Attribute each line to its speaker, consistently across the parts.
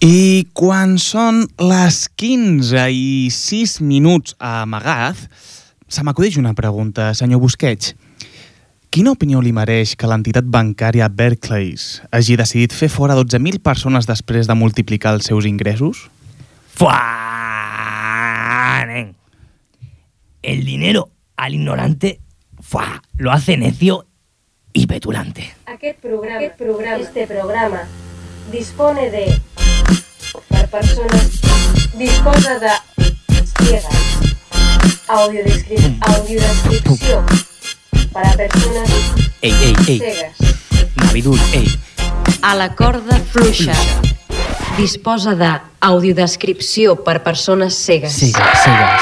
Speaker 1: I quan són les 15 i 6 minuts a Magaz, se m'acudeix una pregunta, senyor Busquets. Quina opinió li mereix que l'entitat bancària Barclays hagi decidit fer fora 12.000 persones després de multiplicar els seus ingressos?
Speaker 2: ¡Fua! nen. El dinero al ignorante ¡fua! lo hace necio y petulante.
Speaker 3: Aquest programa, aquest programa, este programa, dispone de... Per persones... Disposa de... Ciegas. Audiodescri audiodescripció. Para personas
Speaker 2: ¡Ey, ey, ey!
Speaker 3: cegas.
Speaker 2: Navidul, ey!
Speaker 4: A la corda fluixa. Disposa de audiodescripció per persones cegues.
Speaker 2: Sigas, sigas.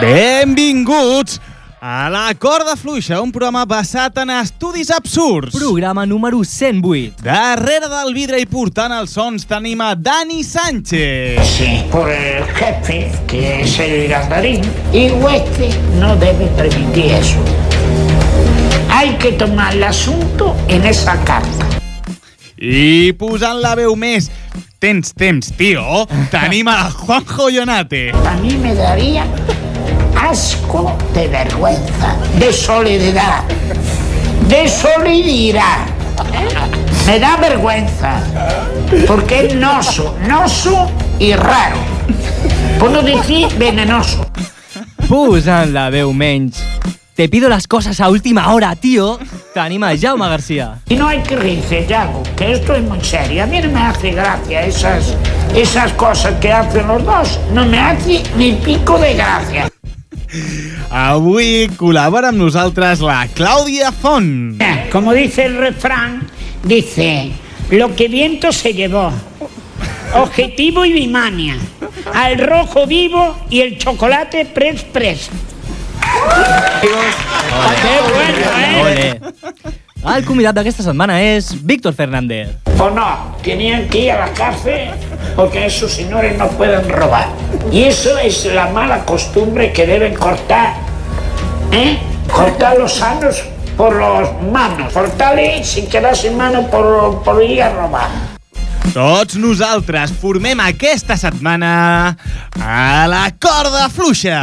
Speaker 1: Benvinguts a la corda fluixa, un programa basat en estudis absurds.
Speaker 2: Programa número 108.
Speaker 1: Darrere del vidre i portant els sons tenim a Dani Sánchez.
Speaker 5: Sí, por el jefe, que es el gandarín. Y hueste no debe permitir eso. Hay que tomar el asunto en esa carta.
Speaker 1: I posant la veu més tens temps, tio, tenim a Juanjo Ionate.
Speaker 5: A mí me daría asco de vergüenza, de soledad, de solididad. Me da vergüenza, porque es noso, noso y raro. Por no decir venenoso.
Speaker 2: Posant la veu menys. Te pido las cosas a última hora, tío. Te anima Jaume García.
Speaker 5: Y no hay que reírse, Yago, que esto es muy serio. A mí no me hace gracia esas, esas cosas que hacen los dos. No me hace ni pico de gracia.
Speaker 1: Avui col·labora amb nosaltres la Clàudia Font.
Speaker 5: Eh, Como dice el refrán, dice, lo que viento se llevó, objetivo y bimania, al rojo vivo y el chocolate pres pres. ¡Qué bueno, eh!
Speaker 2: Ole. El convidat d'aquesta setmana és Víctor Fernández.
Speaker 5: O no, tenían que ir a la cárcel porque esos señores no pueden robar. Y eso es la mala costumbre que deben cortar. ¿Eh? Cortar los sanos por los manos. Cortarle sin quedarse en mano por, por ir a robar.
Speaker 1: Tots nosaltres formem aquesta setmana a la corda fluixa.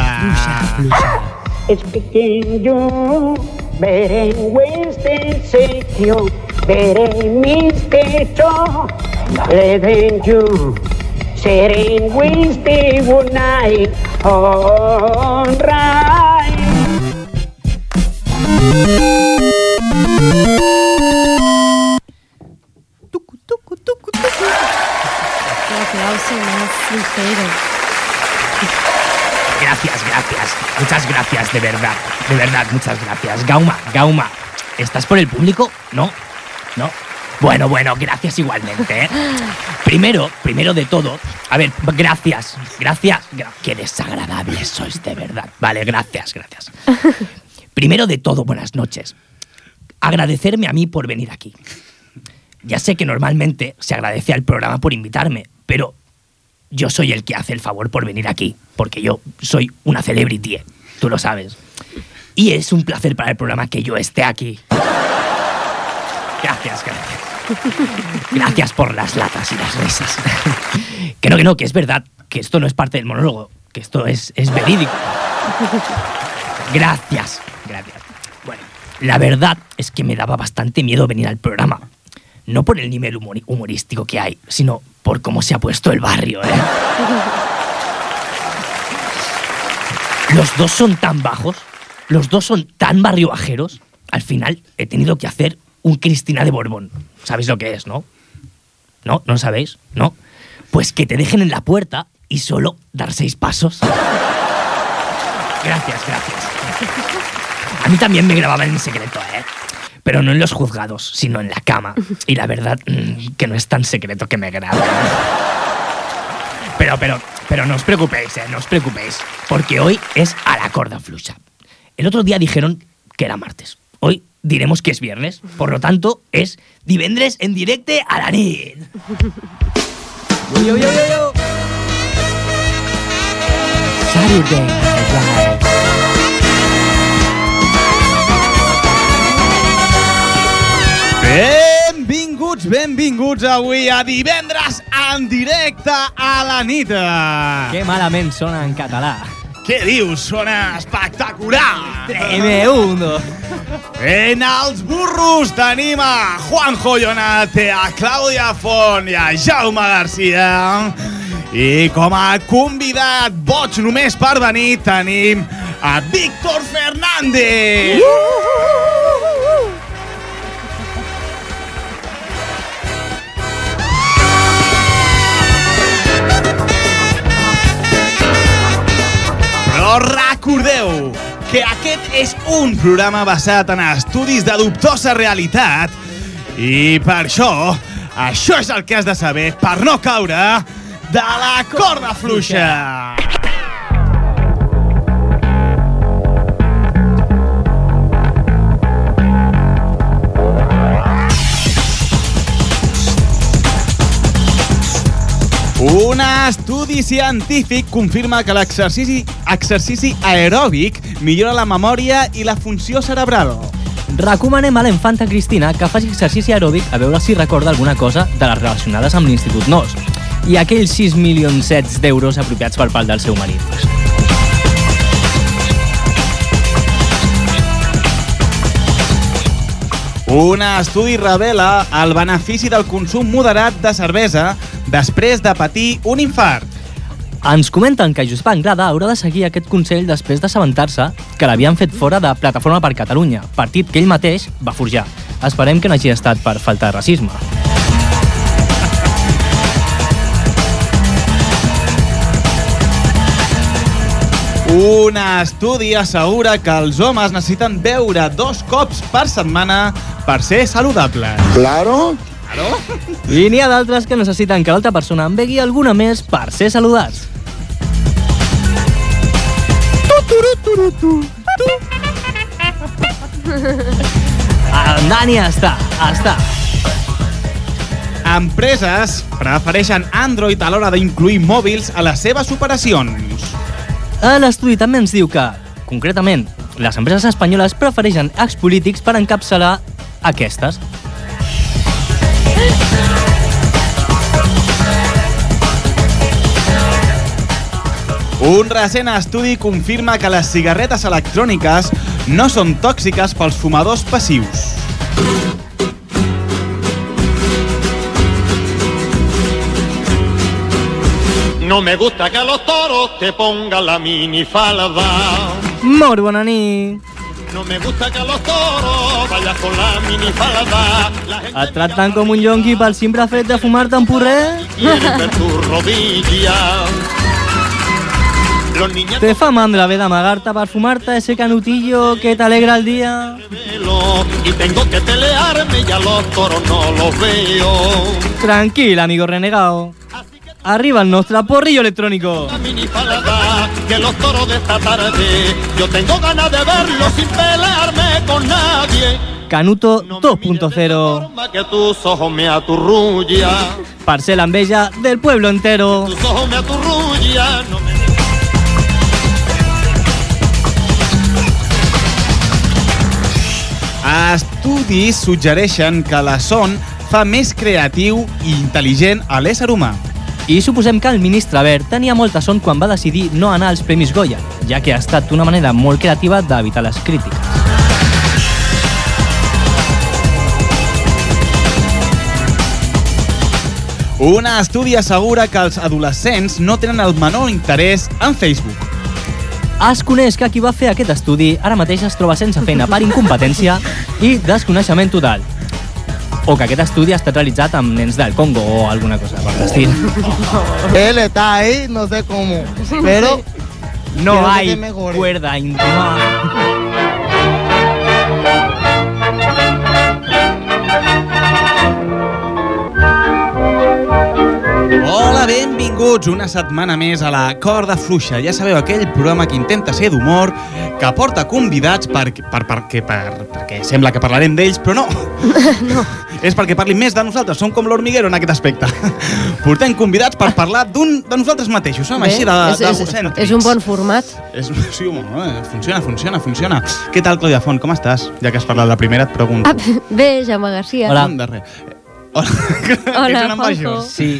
Speaker 5: Es que yo veré este sitio, veré mis techo, le den yo. Seré en Wednesday night, all right.
Speaker 2: Tucu, tucu, tucu, tucu.
Speaker 4: La Clàudia més fluixera.
Speaker 2: Gracias, gracias. Muchas gracias, de verdad. De verdad, muchas gracias. Gauma, Gauma. ¿Estás por el público? No. No. Bueno, bueno, gracias igualmente. ¿eh? Primero, primero de todo, a ver, gracias, gracias. gra- Qué desagradables sois, de verdad. Vale, gracias, gracias. Primero de todo, buenas noches. Agradecerme a mí por venir aquí. Ya sé que normalmente se agradece al programa por invitarme, pero yo soy el que hace el favor por venir aquí, porque yo soy una celebrity, eh, tú lo sabes. Y es un placer para el programa que yo esté aquí. Gracias, gracias. Gracias por las latas y las risas. Que no, que no, que es verdad, que esto no es parte del monólogo, que esto es, es verídico. Gracias, gracias. Bueno, la verdad es que me daba bastante miedo venir al programa. No por el nivel humori- humorístico que hay, sino por cómo se ha puesto el barrio, ¿eh? Los dos son tan bajos, los dos son tan barrio bajeros, al final he tenido que hacer un Cristina de Borbón. ¿Sabéis lo que es, no? ¿No? ¿No lo sabéis? ¿No? Pues que te dejen en la puerta y solo dar seis pasos. Gracias, gracias. A mí también me grababan en secreto, ¿eh? Pero no en los juzgados, sino en la cama. Y la verdad, mm, que no es tan secreto que me graben. Pero, pero, pero no os preocupéis, ¿eh? No os preocupéis. Porque hoy es a la corda flucha. El otro día dijeron que era martes. Hoy diremos que es viernes. Por lo tanto, es divendres en directe a la nit. Saturday Night Live.
Speaker 1: Benvinguts, benvinguts avui a Divendres en directe a la nit.
Speaker 6: Que malament sona en català.
Speaker 1: Què dius? Sona espectacular!
Speaker 6: Tremendo.
Speaker 1: En els burros tenim a Juanjo Llonate, a Clàudia Font i a Jaume Garcia. I com a convidat boig només per venir tenim a Víctor Fernández. Però recordeu que aquest és un programa basat en estudis de dubtosa realitat i per això, això és el que has de saber per no caure de la corda fluixa. Un estudi científic confirma que l'exercici exercici aeròbic millora la memòria i la funció cerebral.
Speaker 6: Recomanem a la infanta Cristina que faci exercici aeròbic a veure si recorda alguna cosa de les relacionades amb l'Institut NOS i aquells 6 milions sets d'euros apropiats per part del seu marit.
Speaker 1: Un estudi revela el benefici del consum moderat de cervesa després de patir un infart.
Speaker 6: Ens comenten que Josep Anglada haurà de seguir aquest consell després d'assabentar-se que l'havien fet fora de Plataforma per Catalunya, partit que ell mateix va forjar. Esperem que no hagi estat per falta de racisme.
Speaker 1: Un estudi assegura que els homes necessiten beure dos cops per setmana per ser saludables.
Speaker 7: Claro,
Speaker 6: I n'hi ha d'altres que necessiten que l'altra persona en begui alguna més per ser saludats. El Ah, Dani està, està.
Speaker 1: Empreses prefereixen Android a l'hora d'incluir mòbils a les seves operacions.
Speaker 6: L'estudi també ens diu que, concretament, les empreses espanyoles prefereixen expolítics per encapçalar aquestes.
Speaker 1: Un recent estudi confirma que les cigarretes electròniques no són tòxiques pels fumadors passius.
Speaker 8: No me gusta que a los toros te pongan la minifalda.
Speaker 6: Molt bona nit!
Speaker 8: No me gusta que a los toros vayas con la minifalda. La gente
Speaker 6: Et tracten com un yonqui pel simple fet de fumar-te un porrer?
Speaker 8: quiere ver tu rodilla. Los niñatos
Speaker 6: Te fa mandra haver d'amagar-te per fumar-te ese canutillo que t'alegra el dia.
Speaker 8: de velo y tengo que pelearme y a los toros no los veo.
Speaker 6: Tranquil, amigo renegado. Arriba el nostre porrillo electrónico.
Speaker 8: La minifalda que los toros de esta tarde yo tengo ganas de verlos sin pelearme con nadie.
Speaker 6: Canuto
Speaker 8: No me mires de esa
Speaker 6: 2.0.
Speaker 8: forma Que tus ojos me aturrullan.
Speaker 6: Parcela en bella del pueblo entero.
Speaker 8: Tus ojos me aturrullan, no me dejan.
Speaker 1: Estudis suggereixen que la son fa més creatiu i intel·ligent a l'ésser humà.
Speaker 6: I suposem que el ministre Bert tenia molta son quan va decidir no anar als Premis Goya, ja que ha estat una manera molt creativa d'evitar les crítiques.
Speaker 1: Un estudi assegura que els adolescents no tenen el menor interès en Facebook.
Speaker 6: Ah, Es coneix que qui va fer aquest estudi ara mateix es troba sense feina per incompetència i desconeixement total. O que aquest estudi ha estat realitzat amb nens del Congo o alguna cosa per l'estil.
Speaker 7: él está ahí, no sé cómo, pero
Speaker 6: No
Speaker 7: Quiero que
Speaker 6: hay
Speaker 7: te mejores.
Speaker 6: cuerda íntima.
Speaker 1: Hola, benvinguts una setmana més a la Corda Fluixa. Ja sabeu, aquell programa que intenta ser d'humor, que porta convidats per, per, perquè, per, perquè sembla que parlarem d'ells, però no. no. És perquè parlin més de nosaltres. Som com l'hormiguero en aquest aspecte. Portem convidats per parlar d'un de nosaltres mateixos. Som
Speaker 9: Bé,
Speaker 1: així de,
Speaker 9: és, és,
Speaker 1: d'egocèntrics.
Speaker 9: és un bon format.
Speaker 1: És, sí, home, eh? funciona, funciona, funciona. Què tal, Clàudia Font, com estàs? Ja que has parlat la primera, et pregunto.
Speaker 9: Ah, bé, Jaume Garcia.
Speaker 6: Hola.
Speaker 1: Mm, De res. Hola,
Speaker 9: Hola,
Speaker 1: ets un ambaixo?
Speaker 9: Juanjo.
Speaker 2: Sí.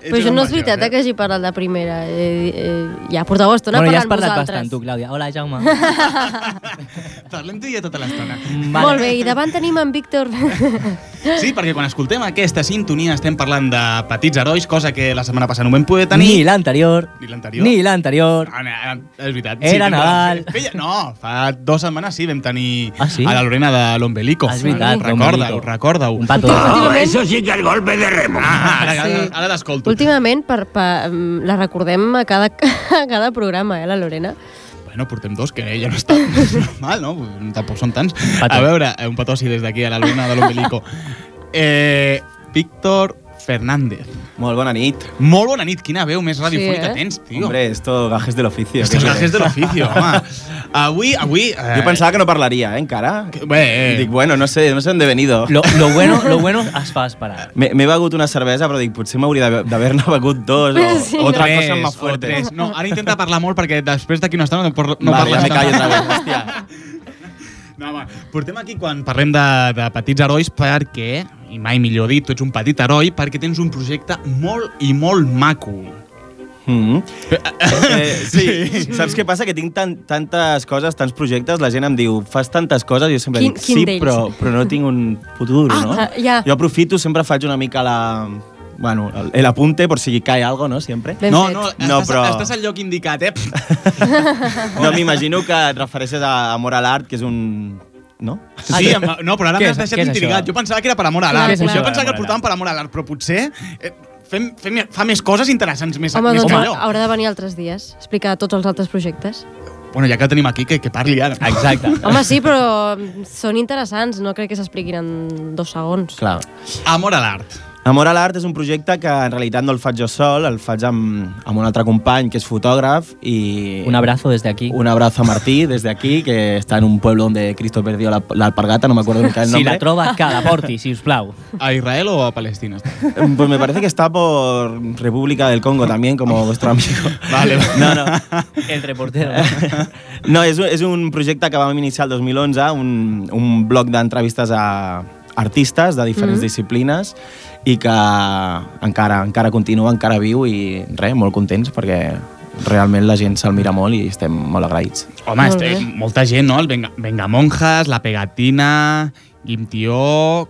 Speaker 1: Ets
Speaker 9: Però
Speaker 1: un
Speaker 9: això no és
Speaker 1: ambaixó,
Speaker 9: veritat
Speaker 1: eh?
Speaker 9: eh? que hagi parlat de primera. Eh, eh, ja portava estona
Speaker 2: bueno, ja has
Speaker 9: parlant
Speaker 2: parlat
Speaker 9: vosaltres.
Speaker 2: bastant, tu, Clàudia. Hola, Jaume.
Speaker 1: Parlem tu i jo tota l'estona.
Speaker 2: Vale.
Speaker 9: Molt bé, i davant tenim en Víctor.
Speaker 1: Sí, perquè quan escoltem aquesta sintonia estem parlant de petits herois, cosa que la setmana passada no vam poder tenir.
Speaker 2: Ni l'anterior.
Speaker 1: Ni l'anterior.
Speaker 2: Ni l'anterior.
Speaker 1: Ah, ah, és veritat.
Speaker 2: Era
Speaker 1: vam-
Speaker 2: Nadal.
Speaker 1: Feia, no, fa dues setmanes sí, vam tenir
Speaker 2: Ah, sí? Ah,
Speaker 1: a la Lorena de l'Ombelico.
Speaker 2: És veritat,
Speaker 1: Recorda-ho,
Speaker 2: l'Ombelico.
Speaker 1: recorda-ho.
Speaker 2: Un pato.
Speaker 5: No, Ah, eso sí que es golpe de remo.
Speaker 1: Ah, ara, ara,
Speaker 9: Sí.
Speaker 1: ara t'escolto.
Speaker 9: Últimament per, per, mm, la recordem a cada, a cada programa, eh, la Lorena.
Speaker 1: Bueno, portem dos, que ja no està mal, no? Tampoc són tants.
Speaker 2: Petó.
Speaker 1: A veure, eh, un petó sí des d'aquí, a la Lorena de l'Ombelico. Eh, Víctor Fernández.
Speaker 10: Muy buena nit.
Speaker 1: Molt bona nit, quina veu més radiofònica
Speaker 9: eh?
Speaker 1: tens, tio.
Speaker 10: Hombre, esto gajes del oficio.
Speaker 1: Estos
Speaker 10: ¿qué
Speaker 1: gajes
Speaker 10: quieres?
Speaker 1: de l'oficio, home. Avui, avui... Eh,
Speaker 10: Yo pensaba que no parlaría, ¿eh? En cara.
Speaker 1: que- Bé, eh,
Speaker 10: Dic, bueno, no sé, no sé dónde he venido.
Speaker 2: Lo, lo, bueno, lo bueno es fa esperar.
Speaker 10: Me M'he begut una cervesa, però dic, potser m'hauria d'haver- d'haver-ne begut dos o,
Speaker 9: Sí,
Speaker 10: o otra cosa
Speaker 1: tres,
Speaker 10: más
Speaker 1: o
Speaker 10: fuerte.
Speaker 1: tres. No, ara intenta parlar molt perquè després d'aquí una estona no, por, no
Speaker 10: vale, ja
Speaker 1: parles
Speaker 10: me
Speaker 1: tant.
Speaker 10: callo otra vez, hòstia.
Speaker 1: No, home, portem aquí quan parlem de, de petits herois perquè, i mai millor dit, tu ets un petit heroi perquè tens un projecte molt i molt maco.
Speaker 10: Mm eh, sí. saps què passa? Que tinc tan, tantes coses, tants projectes, la gent em diu, fas tantes coses, jo sempre
Speaker 9: Quin-
Speaker 10: dic,
Speaker 9: quin
Speaker 10: sí,
Speaker 9: d'ells?"
Speaker 10: però, però no tinc un futur, no?
Speaker 9: ah, ja.
Speaker 10: Jo aprofito, sempre faig una mica la... Bueno, el- el apunte, por si cae algo, no? Siempre.
Speaker 9: Ben
Speaker 1: no,
Speaker 9: fet.
Speaker 1: no, estàs,
Speaker 10: No, però-
Speaker 1: estàs al lloc indicat, eh?
Speaker 10: No, m'imagino que et refereixes a Amor a l'art, que és un... No?
Speaker 1: Ah, Sí, amb, no, però ara
Speaker 2: Què
Speaker 1: m'has
Speaker 2: és-
Speaker 1: deixat
Speaker 2: què és
Speaker 1: intrigat.
Speaker 2: això?
Speaker 1: Jo pensava que era per amor a
Speaker 9: Clar,
Speaker 1: l'art.
Speaker 9: Què és
Speaker 1: Jo
Speaker 9: això,
Speaker 1: pensava
Speaker 2: amor
Speaker 1: que
Speaker 2: a
Speaker 1: portaven per amor a l'art, però potser eh, fem, fem, fa més coses interessants més,
Speaker 9: Home,
Speaker 1: més
Speaker 9: doncs
Speaker 1: que
Speaker 9: ha-
Speaker 1: allò.
Speaker 9: haurà de venir altres dies, explicar tots els altres projectes.
Speaker 1: Bueno, ja que el tenim aquí, que, que parli ara.
Speaker 2: Exacte.
Speaker 9: Home, sí, però mm, són interessants, no crec que s'expliquin en dos segons.
Speaker 10: Clar.
Speaker 1: Amor a l'art.
Speaker 10: Amor a l'art és un projecte que en realitat no el faig jo sol, el faig amb, amb un altre company que és fotògraf i...
Speaker 2: Un abrazo desde aquí.
Speaker 10: Un abrazo a Martí, desde aquí, que está en un pueblo donde Cristo perdió la, la alpargata, no me acuerdo nunca el
Speaker 2: Si
Speaker 10: nombre.
Speaker 2: la troba, que la porti, si us plau.
Speaker 1: ¿A Israel o a Palestina?
Speaker 10: Pues me parece que está por República del Congo también, como vuestro amigo.
Speaker 1: Vale, vale.
Speaker 10: No, no.
Speaker 2: El reportero.
Speaker 10: No, és, un- és un projecte que vam iniciar el 2011, un, un blog d'entrevistes a artistes de diferents mm -hmm. disciplines i que encara encara continua, encara viu i res, molt contents perquè realment la gent se'l mira molt i estem molt agraïts.
Speaker 1: Home,
Speaker 9: Molt
Speaker 1: este,
Speaker 9: bé.
Speaker 1: molta gent, no? El Venga, Venga Monjas, La Pegatina, Guimtió,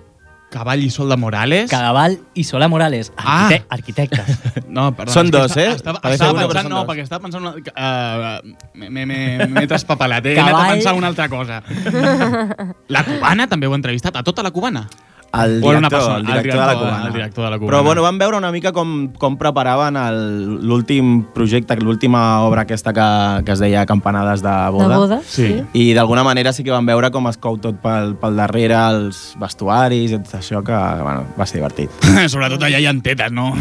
Speaker 1: Cavall i Sol de Morales.
Speaker 2: Cadaval i Solà Morales,
Speaker 1: Ah.
Speaker 2: arquite arquitectes.
Speaker 1: No, perdona,
Speaker 10: Són
Speaker 1: és que
Speaker 10: dos,
Speaker 1: esta-
Speaker 6: Ah,
Speaker 10: eh?
Speaker 1: Estava,
Speaker 10: Parece
Speaker 1: estava
Speaker 10: una, però
Speaker 1: pensant,
Speaker 10: són
Speaker 1: no,
Speaker 10: dos.
Speaker 1: perquè estava pensant... Una, uh, M'he uh, traspapelat, eh? he anat a
Speaker 2: Cavall.
Speaker 1: pensar una altra cosa. La cubana també ho he entrevistat, a tota la cubana.
Speaker 10: El
Speaker 1: O era
Speaker 10: director,
Speaker 1: una persona,
Speaker 10: el director, de la Cubana.
Speaker 1: el director de la Cubana.
Speaker 10: Però bueno, vam veure una mica com, com preparaven el- l'últim projecte, l'última obra aquesta que, que es deia Campanades de
Speaker 9: De
Speaker 10: boda.
Speaker 9: boda?
Speaker 1: Sí.
Speaker 10: I d'alguna manera sí que vam veure com es cou tot pel, pel darrere, els vestuaris i tot això, que bueno, va ser divertit.
Speaker 1: Sobretot allà hi ha tetes, no?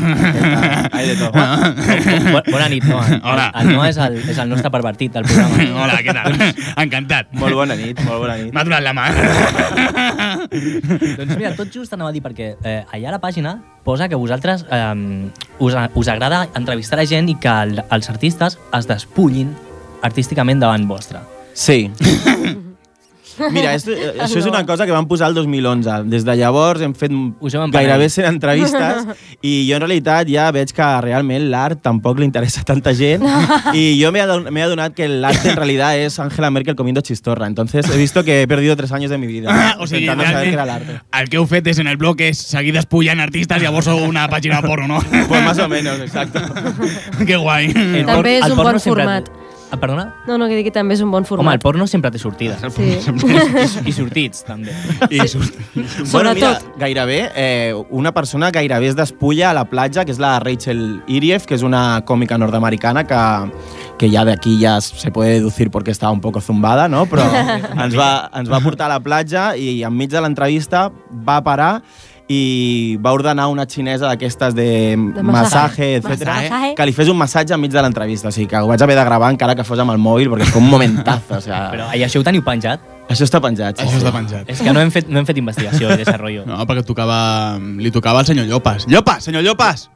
Speaker 10: Ai, de tot.
Speaker 2: Bo- Bona nit, Noa.
Speaker 1: Hola.
Speaker 2: El Noa és el, és el nostre pervertit del programa.
Speaker 1: Hola, què tal? Encantat.
Speaker 10: Molt bona nit, molt bona nit.
Speaker 1: M'ha donat la mà.
Speaker 2: doncs mira, tot just anava a dir, perquè eh, allà a la pàgina posa que vosaltres eh, us, a- us agrada entrevistar la gent i que el, els artistes es despullin artísticament davant vostra.
Speaker 10: Sí. Mira, esto, eh, això és una cosa que vam posar el 2011. Des de llavors hem fet
Speaker 2: Us hem empanat.
Speaker 10: gairebé 100 entrevistes i jo en realitat ja veig que realment l'art tampoc li interessa a tanta gent i jo m'he adon- m'he adonat que l'art en realitat és Angela Merkel comiendo chistorra. Entonces he visto que he perdido tres años de mi vida
Speaker 1: o sigui,
Speaker 10: intentando
Speaker 1: realment,
Speaker 10: saber qué era l'art.
Speaker 1: el que heu fet és en el blog és seguir despullant artistes i llavors sou una pàgina porno, no?
Speaker 10: Pues más o menos, exacto.
Speaker 1: que guai.
Speaker 2: Mm. El
Speaker 9: També
Speaker 2: por-
Speaker 9: és
Speaker 2: el
Speaker 9: un
Speaker 2: porno
Speaker 9: bon
Speaker 2: sempre-
Speaker 9: format.
Speaker 2: Ah, Perdona?
Speaker 9: No, no, que digui també és un bon
Speaker 2: Home, el
Speaker 9: format.
Speaker 2: porno sempre té sortides.
Speaker 9: Sí.
Speaker 2: I, I sortits, també.
Speaker 1: I surt...
Speaker 10: Bueno, mira,
Speaker 9: Sobretot.
Speaker 10: gairebé, eh, una persona gairebé es despulla a la platja, que és la Rachel Irieff, que és una còmica nord-americana que, que ja d'aquí ja se puede deducir perquè estava un poco zumbada, no? Però ens va, ens va portar a la platja i enmig de l'entrevista va parar i va ordenar una xinesa d'aquestes de, de massatge,
Speaker 9: massatge.
Speaker 10: etc
Speaker 9: Massatge.
Speaker 10: que li fes un massatge enmig de l'entrevista. O sigui, que ho vaig haver de gravar encara que fos amb el mòbil, perquè és com un momentazo. O sigui,
Speaker 2: Però i això ho teniu penjat?
Speaker 10: això està penjat. sí,
Speaker 1: Això
Speaker 10: sí.
Speaker 1: està penjat.
Speaker 2: És que no hem fet, no hem fet investigació i desenvolupament.
Speaker 1: No, perquè tocava, li Ah. tocava al senyor Llopas. Llopas, senyor Llopas!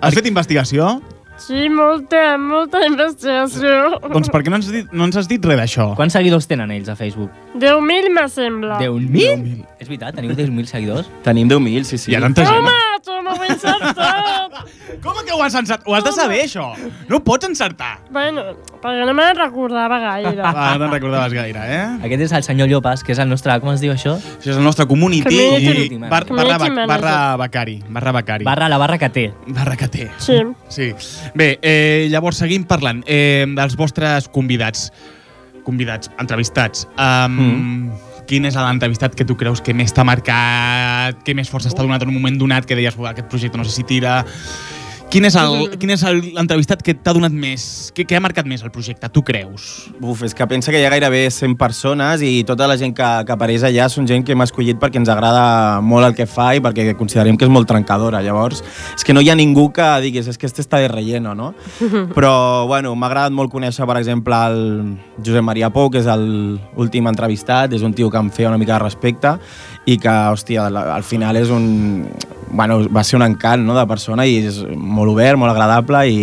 Speaker 1: Has fet investigació?
Speaker 11: Sí, molta, molta investigació.
Speaker 1: Doncs per què no ens, dit, no ens has dit res d'això? Ah.
Speaker 6: Quants seguidors tenen ells a Facebook?
Speaker 11: 10.000, me sembla.
Speaker 6: 10.000? És veritat, teniu 10.000 seguidors?
Speaker 10: Tenim 10.000, sí, sí.
Speaker 1: Hi ha tanta gent.
Speaker 11: Toma, toma, ho he encertat.
Speaker 1: Com que ho has encertat? Ho has de saber, això. No ho pots encertar.
Speaker 11: bueno, perquè no me'n recordava gaire.
Speaker 1: Ah, Va, no te'n recordaves gaire, eh?
Speaker 6: Aquest és el senyor Llopas, que és el nostre... Com es diu això?
Speaker 1: Això és el nostre community,
Speaker 11: Community
Speaker 1: i bar, barra,
Speaker 11: Community
Speaker 1: ba-
Speaker 11: manager.
Speaker 1: barra becari. Barra becari.
Speaker 6: Barra la barra que té.
Speaker 1: barra que té.
Speaker 11: Sí.
Speaker 1: Sí. Bé, eh, llavors seguim parlant eh, dels vostres convidats. Convidats, entrevistats. Um, mm. Quin és l'entrevistat que tu creus que més t'ha marcat, que més força està donat en un moment donat, que deies, "Buah, aquest projecte no sé si tira... Quin és el- quin és el- l'entrevistat que t'ha donat més, que, que ha marcat més el projecte, tu creus?
Speaker 10: Uf, és que pensa que hi ha gairebé 100 persones i tota la gent que, que apareix allà són gent que hem escollit perquè ens agrada molt el que fa i perquè considerem que és molt trencadora. Llavors, és que no hi ha ningú que diguis és que este està de relleno, no? Però, bueno, m'ha agradat molt conèixer, per exemple, el Josep Maria Pou, que és l'últim entrevistat, és un tio que em feia una mica de respecte i que, hòstia, la- al final és un... Bueno, va ser un encant, no?, de persona i és molt obert, molt agradable i...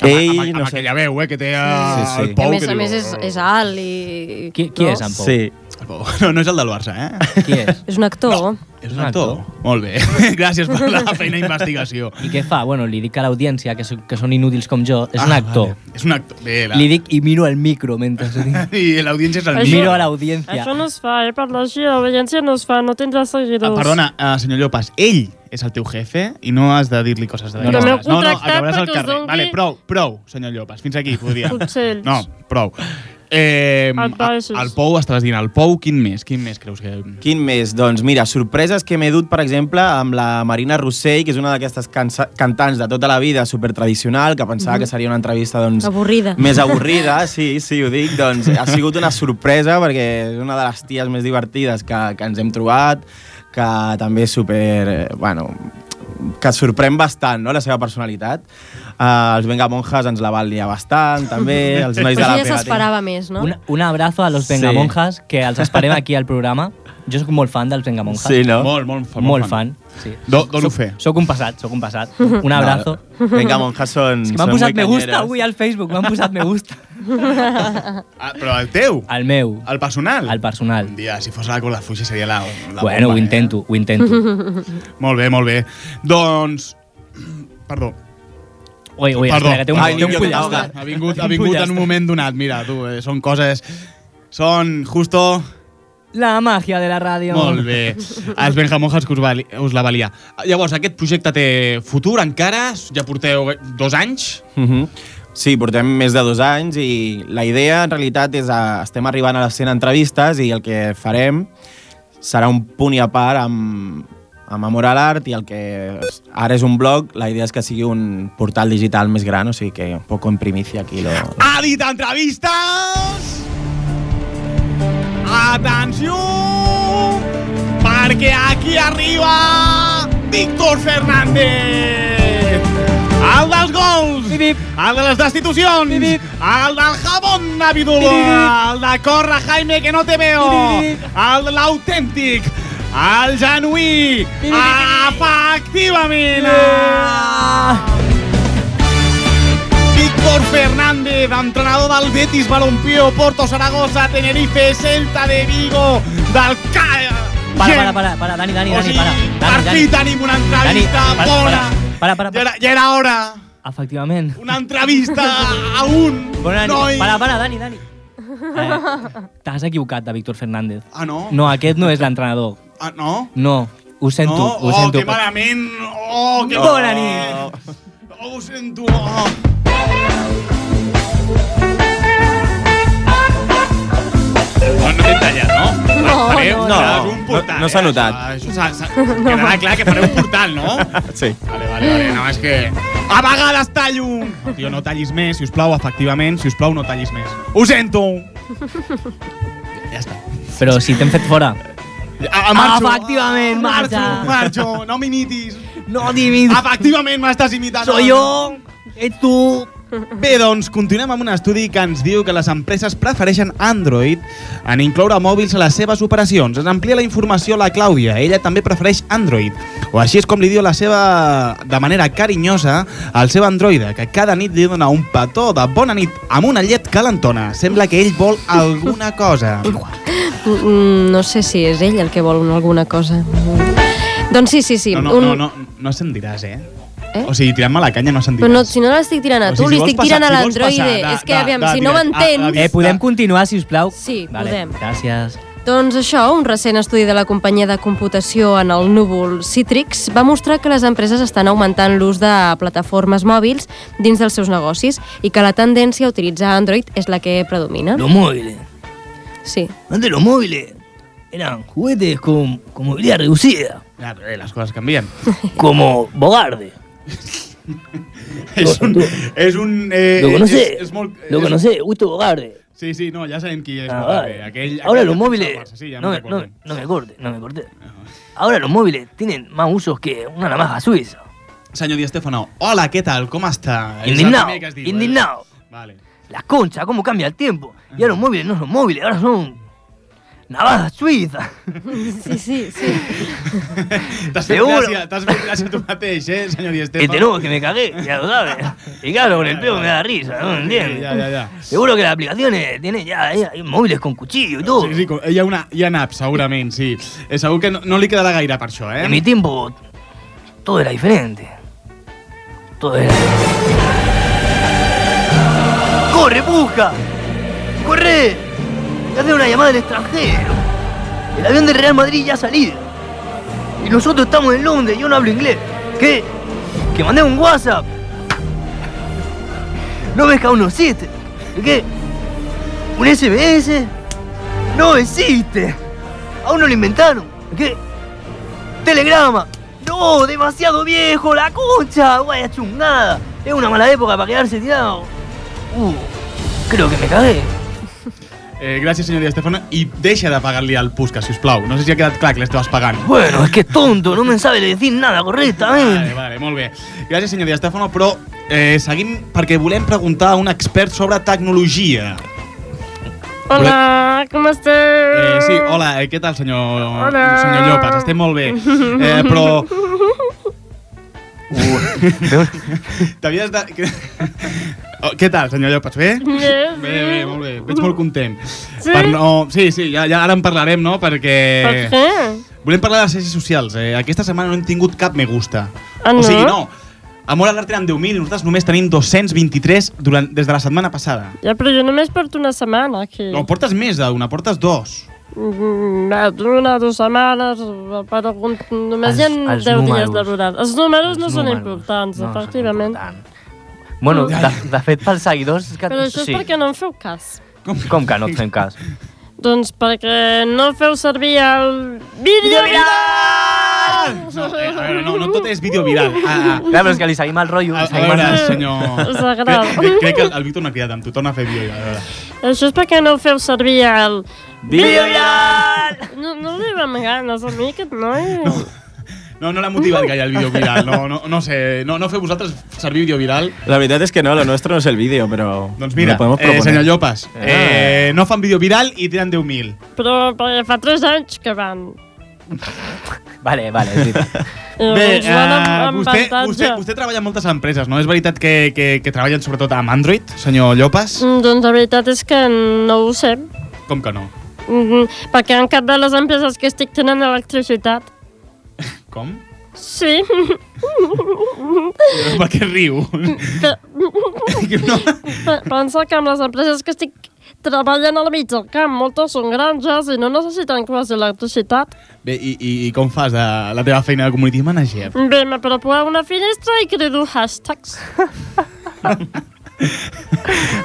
Speaker 10: Ell,
Speaker 1: amb, amb, amb
Speaker 10: no sé,
Speaker 1: aquella veu, eh, que té el,
Speaker 10: Sí, sí.
Speaker 1: el
Speaker 11: Que a
Speaker 1: Pou.
Speaker 11: més
Speaker 1: que
Speaker 11: a
Speaker 1: diu,
Speaker 11: més és, és alt i...
Speaker 6: Qui, qui
Speaker 11: no?
Speaker 6: és en Pou?
Speaker 10: sí,
Speaker 1: El Pou. No, no és el del Barça, eh?
Speaker 6: Qui és?
Speaker 11: És un actor.
Speaker 1: És un actor. Molt bé. Gràcies per la feina d'investigació.
Speaker 6: I què fa? Bueno, li dic a l'audiència, que, so- que són inútils com jo, és un
Speaker 1: Ah,
Speaker 6: actor.
Speaker 1: Vale. És un actor. Bé, la...
Speaker 6: Li dic i miro al micro mentre ho dic.
Speaker 1: I l'audiència és el
Speaker 11: Això-
Speaker 6: Miro a
Speaker 11: Això
Speaker 6: l'audiència.
Speaker 11: no es fa, eh? Per llegir l'audiència no es fa, no tindrà
Speaker 1: Ah,
Speaker 11: seguidors.
Speaker 1: perdona, uh, senyor Llopas, ell és el teu jefe i no has de dir-li coses de
Speaker 6: No,
Speaker 1: no,
Speaker 6: no.
Speaker 11: Que m'heu
Speaker 1: no,
Speaker 11: contractat
Speaker 1: acabaràs al
Speaker 11: perquè us
Speaker 1: carrer.
Speaker 11: dongui-
Speaker 1: Vale, prou, prou, senyor Llopas. Fins aquí, podria.
Speaker 11: Consells.
Speaker 1: No, prou. Eh,
Speaker 11: Advices.
Speaker 1: el Pou, estaves dient, el Pou, quin més? Quin més creus que...
Speaker 10: Quin més? Doncs mira, sorpreses que m'he dut, per exemple, amb la Marina Rossell, que és una d'aquestes cansa- cantants de tota la vida supertradicional, que pensava que seria una entrevista doncs,
Speaker 11: Avorrida.
Speaker 10: més avorrida, sí, sí, ho dic. Doncs ha sigut una sorpresa perquè és una de les ties més divertides que, que ens hem trobat, que també és super... eh, Bueno, que sorprèn bastant, no?, la seva personalitat. Uh, els Venga Monjas ens la van liar bastant, també, els
Speaker 11: Però
Speaker 10: nois de la
Speaker 11: això ja
Speaker 10: pegatina.
Speaker 11: s'esperava més, no?
Speaker 6: Un, un abrazo a los
Speaker 10: Sí.
Speaker 6: Vengamonjas, que els esperem aquí al programa. Jo sóc molt fan dels Vengamonjas.
Speaker 10: Sí, no?
Speaker 1: Molt, molt, fan,
Speaker 6: molt fan. Sí.
Speaker 1: Do, dono
Speaker 6: Soc-
Speaker 1: fe.
Speaker 6: Soc un passat, sóc un passat. Un abrazo.
Speaker 10: No, Venga Monjas són...
Speaker 6: És que m'han
Speaker 10: són
Speaker 6: posat
Speaker 10: muy
Speaker 6: me gusta
Speaker 10: cañeras.
Speaker 6: avui al Facebook, m'han posat me gusta.
Speaker 1: Ah, però el teu?
Speaker 6: Al meu,
Speaker 1: El personal?
Speaker 6: al personal.
Speaker 1: Un dia, si fos la cola fuixa seria la, la
Speaker 6: Bueno,
Speaker 1: bomba,
Speaker 6: ho
Speaker 1: eh?
Speaker 6: intento, ho intento.
Speaker 1: Molt bé, molt bé. Doncs... Perdó.
Speaker 6: Ui, ui,
Speaker 1: Perdó.
Speaker 6: espera, que té un,
Speaker 10: Ai,
Speaker 6: té un
Speaker 10: jo que
Speaker 6: pollastre.
Speaker 10: t'ahoga.
Speaker 1: Ha vingut,
Speaker 6: Té
Speaker 1: ha
Speaker 6: un
Speaker 1: vingut en
Speaker 6: pollastre.
Speaker 1: un moment donat. Mira, tu, eh, són coses... Són justo...
Speaker 6: La màgia de la ràdio.
Speaker 1: Molt bé. Els Benjamonjas que us, va, li- us la valia. Llavors, aquest projecte té futur encara? Ja porteu dos anys?
Speaker 10: Mhm. Sí, portem més de dos anys i la idea en realitat és a, estem arribant a les 100 entrevistes i el que farem serà un punt i a part amb, amb Amor a l'Art i el que es- ara és un blog, la idea és que sigui un portal digital més gran, o sigui que un poc en primicia aquí. Lo...
Speaker 1: Ha dit entrevistes! Atenció! Perquè aquí arriba Víctor Fernández! El dels gols!
Speaker 6: Bip, bip.
Speaker 1: El de les destitucions!
Speaker 6: Bip, bip.
Speaker 1: El del jabón navidulo!
Speaker 6: Bip, bip.
Speaker 1: El de corre, Jaime, que no te veo!
Speaker 6: Bip, bip.
Speaker 1: El de l'autèntic! El genuí!
Speaker 6: bip, bip.
Speaker 1: Efectivament!
Speaker 6: Ah!
Speaker 1: Víctor Fernández, entrenador del Betis Balompié, Porto Saragossa, Tenerife, Celta de Vigo, del CAE...
Speaker 6: Para, para, para, para, Dani, Dani,
Speaker 1: O
Speaker 6: Dani,
Speaker 1: sigui,
Speaker 6: para.
Speaker 1: per
Speaker 6: Dani,
Speaker 1: fi
Speaker 6: Dani.
Speaker 1: tenim una entrevista
Speaker 6: Dani, para,
Speaker 1: bona.
Speaker 6: para, para, para.
Speaker 1: Ja era, ja era hora.
Speaker 6: Efectivament.
Speaker 1: Una entrevista a un
Speaker 6: Bona
Speaker 1: noi.
Speaker 6: nit. Para, para, Dani, Dani. Eh, T'has equivocat de Víctor Fernández.
Speaker 1: Ah, no?
Speaker 6: No, aquest no és l'entrenador.
Speaker 1: Ah, no?
Speaker 6: No, ho sento,
Speaker 1: no?
Speaker 6: ho
Speaker 1: oh,
Speaker 6: sento.
Speaker 1: que malament. Oh, que
Speaker 6: Bona
Speaker 1: malament. Oh, ho sento. Oh. No, no t'he tallat, no?
Speaker 11: No,
Speaker 1: Fareu-
Speaker 11: no,
Speaker 1: fareu
Speaker 10: no.
Speaker 1: un portal,
Speaker 10: No- no s'ha
Speaker 1: eh?
Speaker 10: notat.
Speaker 1: Això, això s'ha- s'ha- quedarà clar que fareu un portal, no?
Speaker 10: Sí.
Speaker 1: Vale, vale, vale, no, és que... A vegades tallo! No, tio, no tallis més, si us plau, efectivament, si us plau, no tallis més. Ho sento! Ja està.
Speaker 6: Però si t'hem fet fora.
Speaker 1: A, a
Speaker 6: Efectivament,
Speaker 1: marxo,
Speaker 6: marxa.
Speaker 1: marxo, no m'imitis.
Speaker 6: No, Divi,
Speaker 1: Efectivament, m'estàs imitant.
Speaker 6: soy yo, ets tu,
Speaker 1: Bé, doncs, continuem amb un estudi que ens diu que les empreses prefereixen Android en incloure mòbils a les seves operacions. Ens amplia la informació la Clàudia. Ella també prefereix Android. O així és com li diu la seva, de manera carinyosa, al seu androide, que cada nit li dona un petó de bona nit amb una llet calentona. Sembla que ell vol alguna cosa.
Speaker 9: Mm, No sé si és ell el que vol un- alguna cosa. Doncs sí, sí, sí.
Speaker 1: No, no,
Speaker 9: un...
Speaker 1: no, no, no se'n diràs, eh?
Speaker 9: Eh?
Speaker 1: O sigui, tirant-me la canya no se'n
Speaker 9: Però
Speaker 1: diràs.
Speaker 9: no, si no l'estic tirant a
Speaker 1: O sigui,
Speaker 9: tu,
Speaker 1: si
Speaker 9: li estic
Speaker 1: vols
Speaker 9: tirant a
Speaker 1: passar- si vols
Speaker 9: l'androide.
Speaker 1: passar de-
Speaker 9: És que,
Speaker 1: de-
Speaker 9: aviam,
Speaker 1: de-
Speaker 9: si
Speaker 1: a-
Speaker 9: no
Speaker 1: a-
Speaker 9: m'entens...
Speaker 1: a-
Speaker 2: Eh, podem continuar, si us plau?
Speaker 9: Sí,
Speaker 2: vale,
Speaker 9: podem.
Speaker 2: Gràcies.
Speaker 9: Doncs això, un recent estudi de la companyia de computació en el núvol Citrix va mostrar que les empreses estan augmentant l'ús de plataformes mòbils dins dels seus negocis i que la tendència a utilitzar Android és la que predomina.
Speaker 2: Los móviles.
Speaker 9: Sí.
Speaker 2: Antes los móviles eran juguetes con, con movilidad reducida,
Speaker 1: Ah, bé, les coses canvien.
Speaker 2: como Bogarde.
Speaker 1: és un... És un eh,
Speaker 2: Lo
Speaker 1: és,
Speaker 2: conocés.
Speaker 1: és molt,
Speaker 2: Lo
Speaker 1: és-
Speaker 2: conocés, Gusto Bogarde.
Speaker 1: Sí, sí, no, ja sabem qui és.
Speaker 2: Ah,
Speaker 1: Ah,
Speaker 2: vale.
Speaker 1: aquell, aquell
Speaker 2: Ahora
Speaker 1: que fixa
Speaker 2: los
Speaker 1: el
Speaker 2: móviles.
Speaker 1: Barça, Sí, ja
Speaker 2: no,
Speaker 1: no, Ah,
Speaker 2: me, no,
Speaker 1: recorden.
Speaker 2: no me corte, no me corte. Ahora los móviles tienen más usos que una navaja suiza.
Speaker 1: Senyor Di Stefano, hola, què tal? Com està? És el
Speaker 2: Indignado,
Speaker 1: primer que has dit,
Speaker 2: indignado.
Speaker 1: vale. Vale.
Speaker 2: Las conchas, cómo cambia el tiempo. Y ahora los móviles no son móviles, ahora son navajas suizas.
Speaker 9: Sí, sí, sí.
Speaker 1: T'has fet,
Speaker 2: Seguro.
Speaker 1: gràcia, t'has fet gràcia tu mateix, eh, senyor Di
Speaker 2: Este
Speaker 1: Stefano?
Speaker 2: nuevo que me cagué, ya lo sabes. Y claro, con el pelo me da risa, ¿no? ¿Entiendes?
Speaker 1: Ya, ya, ya.
Speaker 2: Seguro que las aplicaciones tienen ya, ya, hay móviles con cuchillo y todo.
Speaker 1: Sí, sí, com- hi ha, una, hi ha naps, segurament, sí. Eh, segur que no, no li quedarà gaire per això, eh?
Speaker 2: En mi tiempo todo era diferente. Todo era. ¡Corre, busca! ¡Corre! Ya hace una llamada al extranjero. El avión del Real Madrid ya ha salido. Y nosotros estamos en Londres, yo no hablo inglés. ¿Qué? ¿Que mandé un WhatsApp? ¿No ves que aún no existe? ¿Qué? ¿Un SMS? ¡No existe! Aún no lo inventaron. ¿Qué? Telegrama. No, demasiado viejo, la concha. Guaya chungada. Es una mala época para quedarse tirado. Uh, creo que me cagué.
Speaker 1: Eh, gràcies, senyor Di Stefano. I deixa de pagar-li al Pusca, si us plau. No sé si ha quedat clar que l'estaves pagant.
Speaker 2: Bueno, es que es tonto, no me sabe decir nada
Speaker 1: Vale,
Speaker 2: correctamente.
Speaker 1: vale, molt bé. Gràcies, senyor Di Stefano, però eh, seguim perquè volem preguntar a un expert sobre tecnologia.
Speaker 9: Hola, com esteu?
Speaker 1: Eh, sí, hola, eh, què tal, senyor, senyor Llopas? Estem molt bé, eh, però... T'havies de... que- Oh, què tal, senyor Llopas? Bé? Bé, bé, molt bé. Veig molt content. Sí? Per no... Sí, sí, ja, ja ara en parlarem, no? Perquè... Per què? Volem parlar de les xarxes socials. Eh, aquesta setmana no hem tingut cap me gusta. Ah, no? O sigui, no. A Mola Alert eren 10.000 i nosaltres només tenim 223 durant, des de la setmana passada.
Speaker 11: Ja, però jo només porto una setmana aquí.
Speaker 1: No, portes més d'una, portes dos.
Speaker 11: Mm, una, dues setmanes, però algun... només hi ha
Speaker 2: Els-
Speaker 11: 10
Speaker 2: els
Speaker 11: dies
Speaker 2: números.
Speaker 11: laborals. Els números no són importants,
Speaker 2: no són
Speaker 11: efectivament.
Speaker 2: importants. Bueno, de, de fet, pels seguidors... Que,
Speaker 11: Però això és perquè no en feu cas.
Speaker 2: Com que no et fem cas?
Speaker 11: Doncs perquè no feu servir el vídeo viral!
Speaker 1: No, eh, a veure, no, no tot és vídeo viral. Ah,
Speaker 2: Clar, però és que li seguim el rotllo.
Speaker 1: ah, a,
Speaker 2: li
Speaker 1: a
Speaker 2: seguim el
Speaker 1: veure,
Speaker 2: rotllo.
Speaker 1: senyor...
Speaker 11: Us agrada.
Speaker 1: Crec, crec- crec que el, el Víctor m'ha cridat amb tu, torna a fer vídeo viral. a veure.
Speaker 11: Això és perquè no feu servir el...
Speaker 2: Vídeo viral!
Speaker 11: No, no li van ganes a mi aquest noi.
Speaker 1: No, no l'ha motivat gaire el vídeo viral. No, no, no sé, no, no feu vosaltres servir vídeo viral.
Speaker 10: La verdad es que no, lo nuestro no es el vídeo, pero.
Speaker 1: Doncs mira,
Speaker 10: lo podemos
Speaker 1: eh,
Speaker 10: proponer.
Speaker 1: senyor Llopas,
Speaker 2: Ah.
Speaker 1: eh, no fan vídeo viral i tenen 10.000.
Speaker 11: Però perquè fa 3 anys que van.
Speaker 2: Vale, vale, és veritat.
Speaker 11: I us van
Speaker 1: eh,
Speaker 11: Doncs amb, amb
Speaker 1: vostè,
Speaker 11: avantatge.
Speaker 1: vostè, vostè treballa en moltes empreses, no? És veritat que, que, que treballen sobretot amb Android, senyor Llopas?
Speaker 11: Mm, Doncs la veritat és que no ho sé.
Speaker 1: Com que no?
Speaker 11: Mm, perquè en cap de les empreses que estic tenen electricitat.
Speaker 1: Com?
Speaker 11: Sí,
Speaker 1: Per què riu?
Speaker 11: pe-
Speaker 1: no.
Speaker 11: pe- pensa que amb les empreses que estic treballant al mig del camp, moltes són granges i no necessiten quasi electricitat.
Speaker 1: Bé, i, i, i com fas de la teva feina de community manager?
Speaker 11: Bé, m'apropo a una finestra i crido hashtags.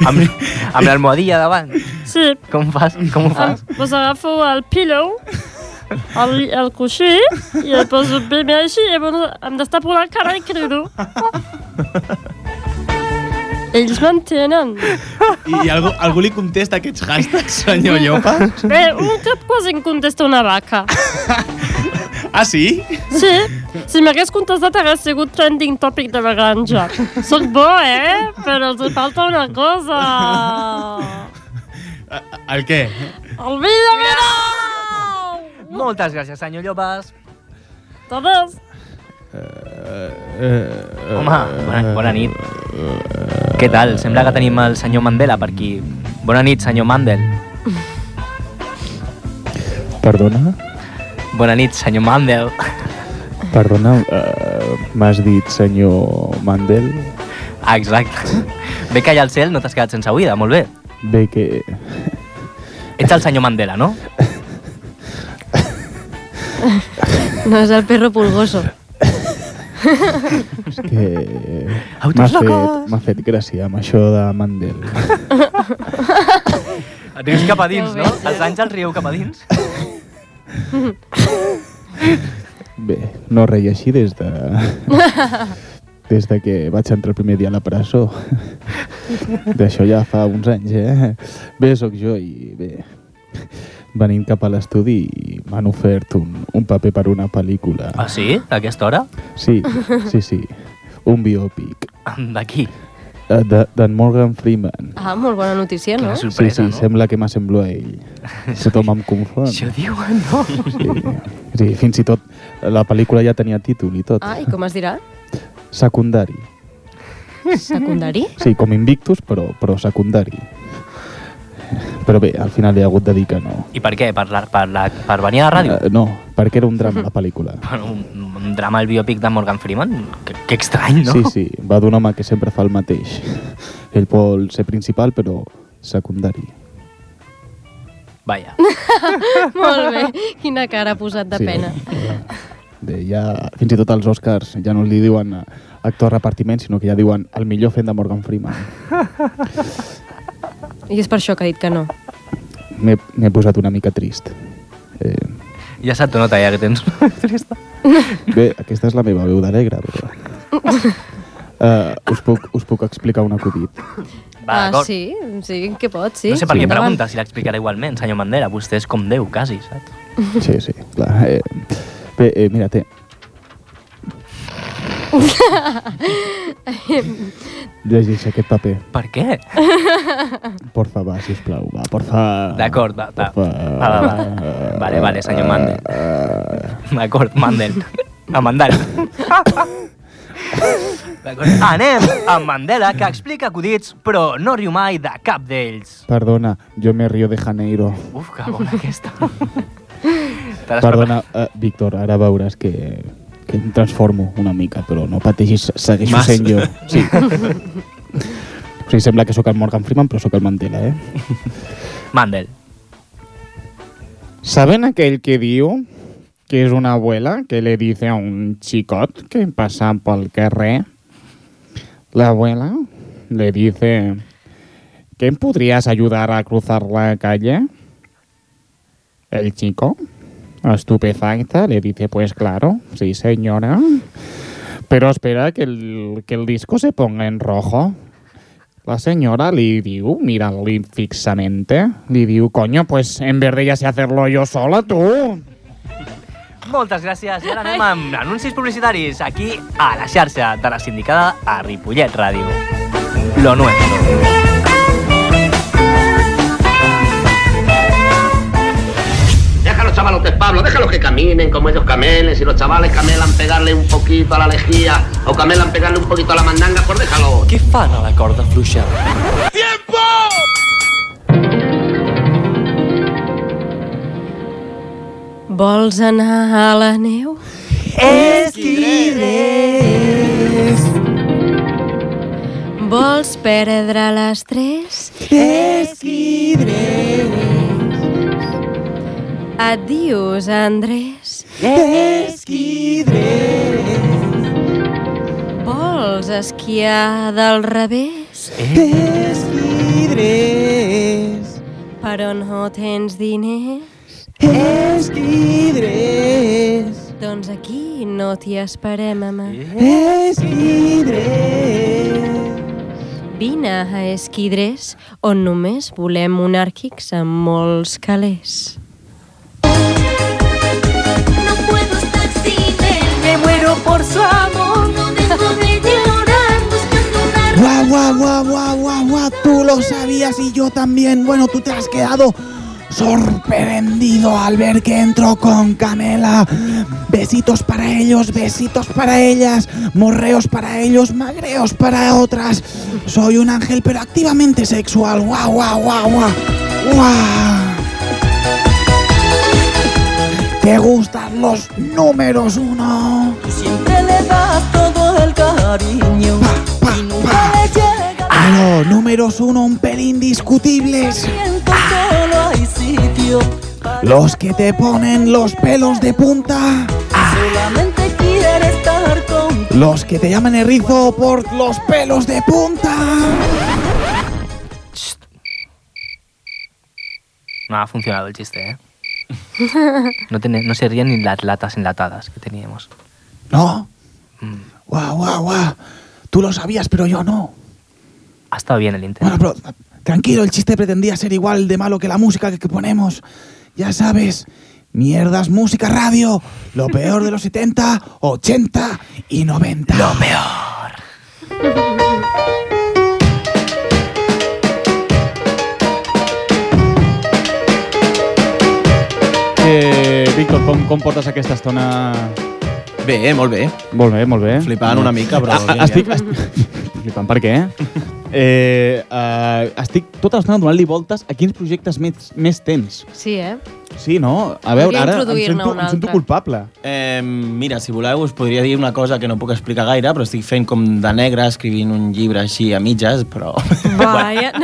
Speaker 2: Amb, amb l'almohadilla davant.
Speaker 11: Sí,
Speaker 2: Com fas? Com ho
Speaker 11: em,
Speaker 2: fas?
Speaker 11: doncs agafo el pillow, el, el coixí, i el poso primer així, i llavors em destapo la cara i crido. Ells m'entenen.
Speaker 1: I, i algú, algú li contesta aquests hashtags, senyor Llopas?
Speaker 11: Bé, un cap quasi em contesta una vaca.
Speaker 12: Ah, sí?
Speaker 11: Sí, si m'hagués contestat hagués sigut trending topic de la granja. Soc bo, eh? Però els hi falta una cosa.
Speaker 12: El què?
Speaker 11: El vídeo, mira!
Speaker 6: Moltes gràcies, senyor Llobas.
Speaker 11: Totes.
Speaker 6: Eh, Home, bona, bona nit. Què tal? Sembla que tenim el senyor Mandela per aquí. Bona nit, senyor Mandel.
Speaker 1: Perdona?
Speaker 6: Bona nit, senyor Mandel.
Speaker 1: Perdona, eh, m'has dit senyor Mandel?
Speaker 6: Exacte. Bé que allà al cel no t'has quedat sense oïda, molt bé.
Speaker 1: Bé que...
Speaker 6: Ets el senyor Mandela, no?
Speaker 9: No, és el perro pulgoso.
Speaker 1: És que... M'ha
Speaker 6: Autos
Speaker 1: fet,
Speaker 6: locos.
Speaker 1: m'ha fet gràcia amb això de Mandel.
Speaker 6: Rius cap a dins, no? Els àngels rieu cap a dins.
Speaker 1: Bé, no reia així des de... Des de que vaig entrar el primer dia a la presó. D'això ja fa uns anys, eh? Bé, sóc jo i bé... Venim cap a l'estudi i m'han ofert un, un paper per una pel·lícula.
Speaker 6: Ah, sí? A aquesta hora?
Speaker 1: Sí, sí, sí. Un biòpic.
Speaker 6: D'aquí.
Speaker 1: Eh, de- D'en Morgan Freeman.
Speaker 9: Ah, molt bona notícia, no?
Speaker 1: sí, sí, sembla que m'assemblo a ell. Tothom em confon.
Speaker 6: Això diuen, no?
Speaker 1: Sí, fins i tot la pel·lícula ja tenia títol i tot.
Speaker 9: Ah, i com es dirà?
Speaker 1: Secundari.
Speaker 9: Secundari?
Speaker 1: Sí, com Invictus, però, però secundari. Però bé, al final he hagut de dir que no.
Speaker 6: I per què? Per, la, per, la, per venir a la ràdio?
Speaker 1: Eh, no, perquè era un drama, la pel·lícula.
Speaker 6: Per un, un drama al biòpic de Morgan Freeman? Que, que estrany, no?
Speaker 1: Sí, sí, va d'un home que sempre fa el mateix. Ell vol ser principal, però secundari.
Speaker 6: Vaja.
Speaker 9: molt bé, quina cara ha posat de
Speaker 1: Sí.
Speaker 9: pena.
Speaker 1: De, ja, fins i tot als Oscars ja no li diuen eh, actor repartiment, sinó que ja diuen el millor fent de Morgan Freeman.
Speaker 9: I és per això que ha dit que no.
Speaker 1: M'he m'he posat una mica trist. Eh,
Speaker 6: Ja se't nota ja que tens...
Speaker 1: bé, aquesta és la meva veu d'alegre, però... Uh, us, puc, us puc explicar un acudit.
Speaker 6: Va,
Speaker 9: ah,
Speaker 6: d'acord.
Speaker 9: sí? Sí, que pot, sí.
Speaker 6: No sé per què
Speaker 9: Endavant.
Speaker 6: pregunta, si l'explicarà igualment, senyor Mandela. Vostè és com Déu, quasi, saps?
Speaker 1: Sí, sí, clar. Eh, bé, eh, mira, té, llegeix aquest paper.
Speaker 6: Per què?
Speaker 1: Porfa, va, sisplau, va, porfa...
Speaker 6: D'acord, va, va. Va, va, va. Vale, vale, senyor Mandel. D'acord, Mandel. A Mandel. D'acord. Anem amb Mandela, que explica acudits, però no riu mai de cap d'ells.
Speaker 1: Perdona, jo me río de Janeiro.
Speaker 6: Uf, que bona aquesta. Te l'has
Speaker 1: Perdona, eh, Víctor, ara veuràs que, que em transformo una mica, però no pateixis, segueixo
Speaker 13: Mas.
Speaker 1: sent jo. Sí. O sigui, sembla que sóc el Morgan Freeman, però sóc el Mandela, eh?
Speaker 6: Mandel.
Speaker 1: ¿Saben aquel que diu que és una abuela que le dice a un xicot que passa pel carrer? La abuela le dice ¿Qué podrías ayudar a cruzar la calle? El chico, estupefacta, le dice pues claro, sí señora, pero espera que el, que el disco se ponga en rojo. La señora le diu, mírale fixamente, le diu, coño, pues en verde ya sé hacerlo yo sola, tú.
Speaker 6: Moltes gràcies. I ara anem amb anuncis publicitaris aquí a la xarxa de la sindicada a Ripollet Ràdio. Lo nuestro.
Speaker 5: Déjalo, chavalotes, Pablo, déjalo que caminen como ellos camelen. Si los chavales camelan pegarle un poquito a la lejía o camelan pegarle un poquito a la mandanga, pues déjalo.
Speaker 6: Què fan a la corda fluixa?
Speaker 5: ¡Tiempo!
Speaker 9: Vols anar a la neu? Esquirés. Vols perdre l'estrès? Esquirés. Adiós, Andrés. Esquirés. Vols esquiar del revés? Esquirés. Però no tens diners? Esquidres. Doncs aquí no t'hi esperem, ama.
Speaker 14: Eh.
Speaker 9: Esquidres. Vine a Esquidres, on només volem monàrquics amb molts calés.
Speaker 15: No puedo estar
Speaker 14: me muero por su amor. No dejo de llorar buscando una
Speaker 16: Guau, guau, guau, guau, guau, guau, tú lo sabías y yo también. Bueno, tú te has quedado sorprendido al ver que entró con Camela. Besitos para ellos, besitos para ellas, morreos para ellos, magreos para otras. Soy un ángel, pero activamente sexual. Guau, guau, guau, guau. Guau. ¿Te gustan los números uno?
Speaker 14: Siempre le das todo el cariño. Y nunca le llega
Speaker 16: Pero números uno un pelín discutibles.
Speaker 14: tiempo, solo hay sitio.
Speaker 16: Los que te ponen los pelos de punta.
Speaker 14: Solamente quiere estar con
Speaker 16: Los que te llaman erizo por los pelos de punta.
Speaker 6: No ha funcionado el chiste, ¿eh? No, tiene- no se ríen ni las latas enlatadas que teníamos.
Speaker 16: ¿No? Mm. Guau, guau, guau. Tú lo sabías, pero yo no.
Speaker 6: Ha estado bien el intento.
Speaker 16: Bueno, pero tranquilo, el chiste pretendía ser igual de malo que la música que, que ponemos. Ya sabes, mierdas, música, radio, lo peor de los 70, 80 y 90. Lo peor.
Speaker 1: Eh, Víctor, com, com portes aquesta estona...
Speaker 10: Bé, molt bé.
Speaker 1: Molt bé, molt bé.
Speaker 10: Flipant una mica, però
Speaker 1: A,
Speaker 10: bé,
Speaker 1: a, estic... est- Flipant per què? Eh, eh, estic tota l'estona donant-li voltes a quins projectes més, més tens.
Speaker 9: Sí, eh?
Speaker 1: Sí, no? A veure,
Speaker 9: Podria
Speaker 1: ara em
Speaker 9: introduir-ne
Speaker 1: sento,
Speaker 9: un
Speaker 1: em sento
Speaker 9: altre.
Speaker 1: culpable.
Speaker 10: Eh, mira, si voleu, us podria dir una cosa que no puc explicar gaire, però estic fent com de negre, escrivint un llibre així a mitges, però...
Speaker 9: Vaya.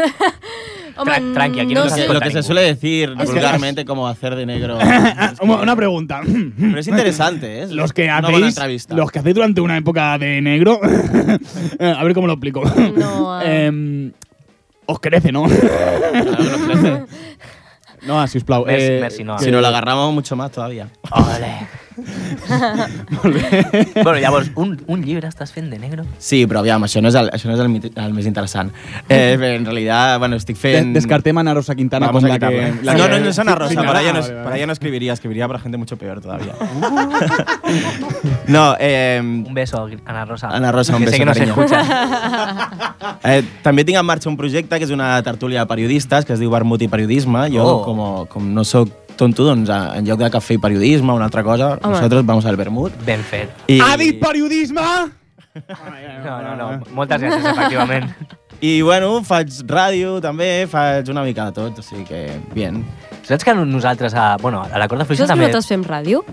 Speaker 9: Home,
Speaker 10: Tranqui,
Speaker 9: aquí no no se sé. cuenta
Speaker 10: Lo que se suele decir
Speaker 1: Es que-
Speaker 10: vulgarmente como hacer de negro.
Speaker 16: Una, una pregunta. Pero
Speaker 10: es interesante, ¿eh?
Speaker 16: Los que
Speaker 10: Una buena
Speaker 16: hacéis,
Speaker 10: entrevista.
Speaker 16: los que hacéis durante una época de negro, eh, a ver cómo lo explico.
Speaker 9: No, eh.
Speaker 16: Em, os crece, ¿no?
Speaker 1: No, ah, sisplau.
Speaker 10: Merci, merci, Noah. Si no eh. la agarramos mucho más todavía.
Speaker 6: Ole. bueno, llavors, un, un llibre estàs fent de negro?
Speaker 10: Sí, però aviam, això no és el, això no és el, mit- el més interessant. Eh, bé, en realitat, bueno, estic fent...
Speaker 1: De- descartem a Ana Rosa Quintana
Speaker 10: Vamos
Speaker 1: com
Speaker 10: a
Speaker 1: la que-
Speaker 10: quitarla.
Speaker 1: la
Speaker 10: no,
Speaker 1: que-
Speaker 10: no, no es Ana Rosa,
Speaker 1: Sí, sí,
Speaker 10: para,
Speaker 1: ah,
Speaker 10: ella no, es-
Speaker 1: vale, vale.
Speaker 10: para ella no escribiría, escribiría para gente mucho peor todavía. no, eh,
Speaker 6: Un beso, Ana Rosa.
Speaker 10: Ana Rosa, un
Speaker 6: que
Speaker 10: beso,
Speaker 6: sé que no
Speaker 10: cariño.
Speaker 6: s'escucha.
Speaker 10: eh, també tinc en marxa un projecte que és una tertúlia de periodistes que es diu Vermut i Periodisme. Jo,
Speaker 6: Oh.
Speaker 10: com, com no sóc tonto, doncs a- en lloc de cafè i periodisme, una altra cosa,
Speaker 6: Home.
Speaker 10: nosaltres vamos al vermut.
Speaker 6: Ben fet.
Speaker 10: I-
Speaker 16: ¿Ha dit periodisme?
Speaker 6: No, no, no. Moltes gràcies, efectivament.
Speaker 10: I, bueno, faig ràdio també, faig una mica de tot, o sigui que, bien.
Speaker 6: Saps que nosaltres, a, bueno, a la corda
Speaker 9: Saps
Speaker 6: fluixa
Speaker 9: que
Speaker 6: també...
Speaker 9: nosaltres fem ràdio?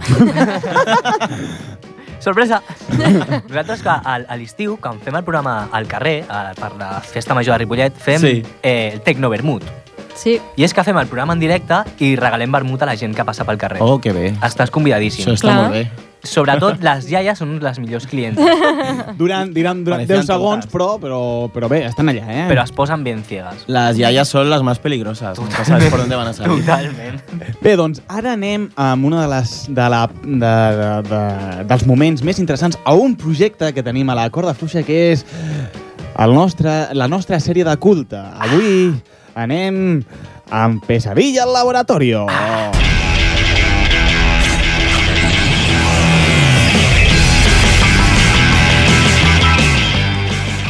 Speaker 6: Sorpresa! Nosaltres que al- a l'estiu, quan fem el programa al carrer, a, per la festa major de Ripollet, fem
Speaker 10: Sí.
Speaker 6: eh, el Tecno Vermut.
Speaker 9: Sí.
Speaker 6: I és que fem el programa en directe i regalem vermut a la gent que passa pel carrer.
Speaker 10: Oh, que bé.
Speaker 6: Estàs convidadíssim.
Speaker 10: Això està Clar. molt bé.
Speaker 6: Sobretot les iaies són les millors clients,
Speaker 1: Durant, durant, durant 10 segons, però, però, però bé, estan allà, eh?
Speaker 6: però es posen ben ciegues.
Speaker 10: Les iaies són les més peligroses, nunca sabes per on van a salir.
Speaker 6: Totalment.
Speaker 1: Bé, doncs ara anem amb una de les, de la, de, de, de, dels moments més interessants a un projecte que tenim a la corda fluixa, que és el nostre, la nostra sèrie de culte. Avui anem amb Pesadilla al Laboratorio.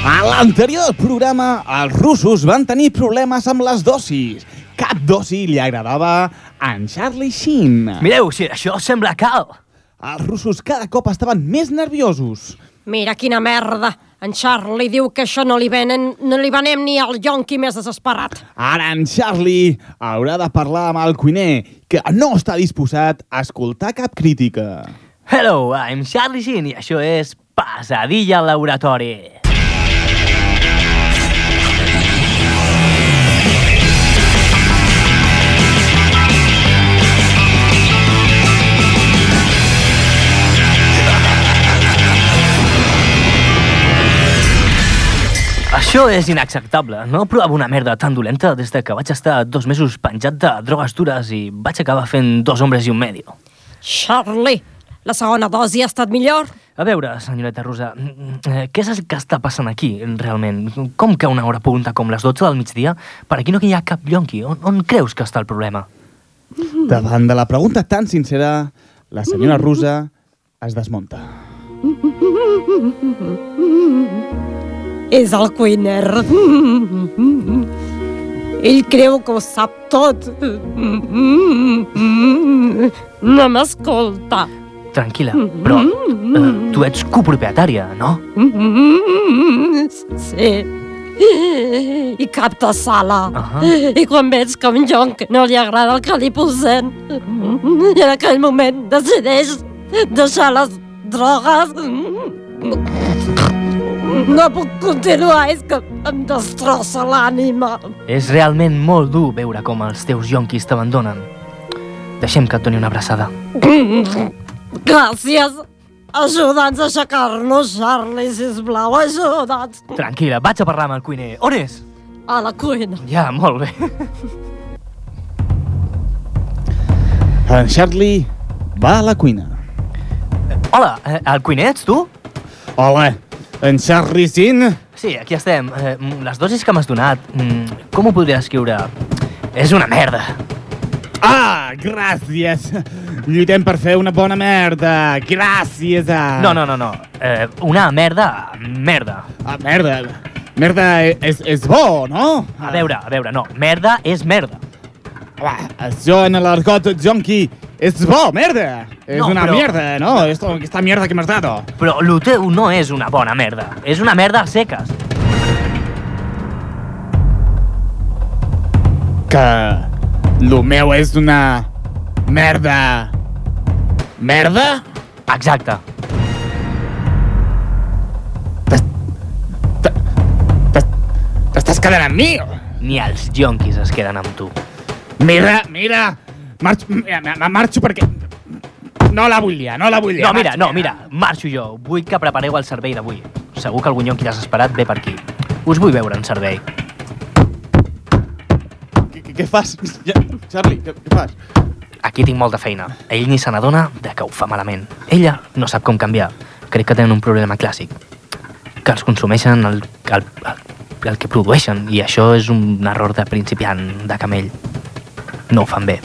Speaker 1: A l'anterior programa, els russos van tenir problemes amb les dosis. Cap dosi li agradava a en Charlie Sheen.
Speaker 6: Mireu, si això sembla cal.
Speaker 1: Els russos cada cop estaven més nerviosos.
Speaker 9: Mira, quina merda! En Charlie diu que això no li venen, no li venem ni al yonqui més desesperat.
Speaker 1: Ara en Charlie haurà de parlar amb el cuiner, que no està disposat a escoltar cap crítica.
Speaker 6: Hello, I'm Charlie Sheen i això és Pesadilla al Laboratori. Això és inacceptable. No provava una merda tan dolenta des de que vaig estar dos mesos penjat de drogues dures i vaig acabar fent dos hombres i un medio.
Speaker 9: Charlie, la segona dosi ha estat millor?
Speaker 6: A veure, senyoreta Rosa, mm, eh, què és el que està passant aquí, realment? Com que una hora punta com les 12 del migdia? Per aquí no hi ha cap llonqui. On, on creus que està el problema?
Speaker 1: Davant de la pregunta tan sincera, la senyora russa es desmunta.
Speaker 17: És el cuiner. Ell creu que ho sap tot. No m'escolta.
Speaker 6: Tranquil·la, però eh, tu ets copropietària, no?
Speaker 17: Sí. I cap de sala. Uh -huh. I quan veig que a un jonc no li agrada el que li posem, i en aquell moment decideix deixar les drogues. No puc continuar, és que em destrossa l'ànima.
Speaker 6: És realment molt dur veure com els teus yonquis t'abandonen. Deixem que et doni una abraçada.
Speaker 17: Gràcies. Ajuda'ns a aixecar-nos, Charlie, sisplau, ajuda'ns.
Speaker 6: Tranquil·la, vaig a parlar amb el cuiner. On és?
Speaker 17: A la cuina.
Speaker 6: Ja, molt bé.
Speaker 1: En Charlie va a la cuina.
Speaker 6: Hola, eh, el cuiner ets tu?
Speaker 1: Hola, en Charlie Sin?
Speaker 6: Sí, aquí estem. Eh, mm, Les dosis que m'has donat, mm, com ho podria escriure? És una merda.
Speaker 1: Ah, gràcies. Lluitem per fer una bona merda. Gràcies a...
Speaker 6: No, no, no, no. Eh, una merda, merda.
Speaker 1: Ah, merda. Merda e-, és, és bo, no?
Speaker 6: A veure, a veure, no. Merda és merda.
Speaker 1: Ah, això en l'argot jonqui és bo, merda. És
Speaker 6: No,
Speaker 1: una
Speaker 6: però-
Speaker 1: merda, no? Esto, aquesta merda que m'has dado.
Speaker 6: Però lo teu no és una bona merda. És una merda a seques.
Speaker 1: que lo meu és una merda. Merda?
Speaker 6: Exacte.
Speaker 1: T'estàs quedant amb mi?
Speaker 6: Ni els yonquis es queden amb tu.
Speaker 1: Mira, mira, marxo, mira, ma- ma- marxo perquè... No la vull liar, no la vull liar.
Speaker 6: No, mira, no, mira, marxo jo. Vull que prepareu el servei d'avui. Segur que algun yonqui desesperat ve per aquí. Us vull veure en servei.
Speaker 1: Què, què fas? Ja, Charlie, què, què fas?
Speaker 6: Aquí tinc molta feina. Ell ni se n'adona de que ho fa malament. Ella no sap com canviar. Crec que tenen un problema clàssic. Que els consumeixen el, el, el, el que produeixen i això és un error de principiant de camell. No ho fan bé.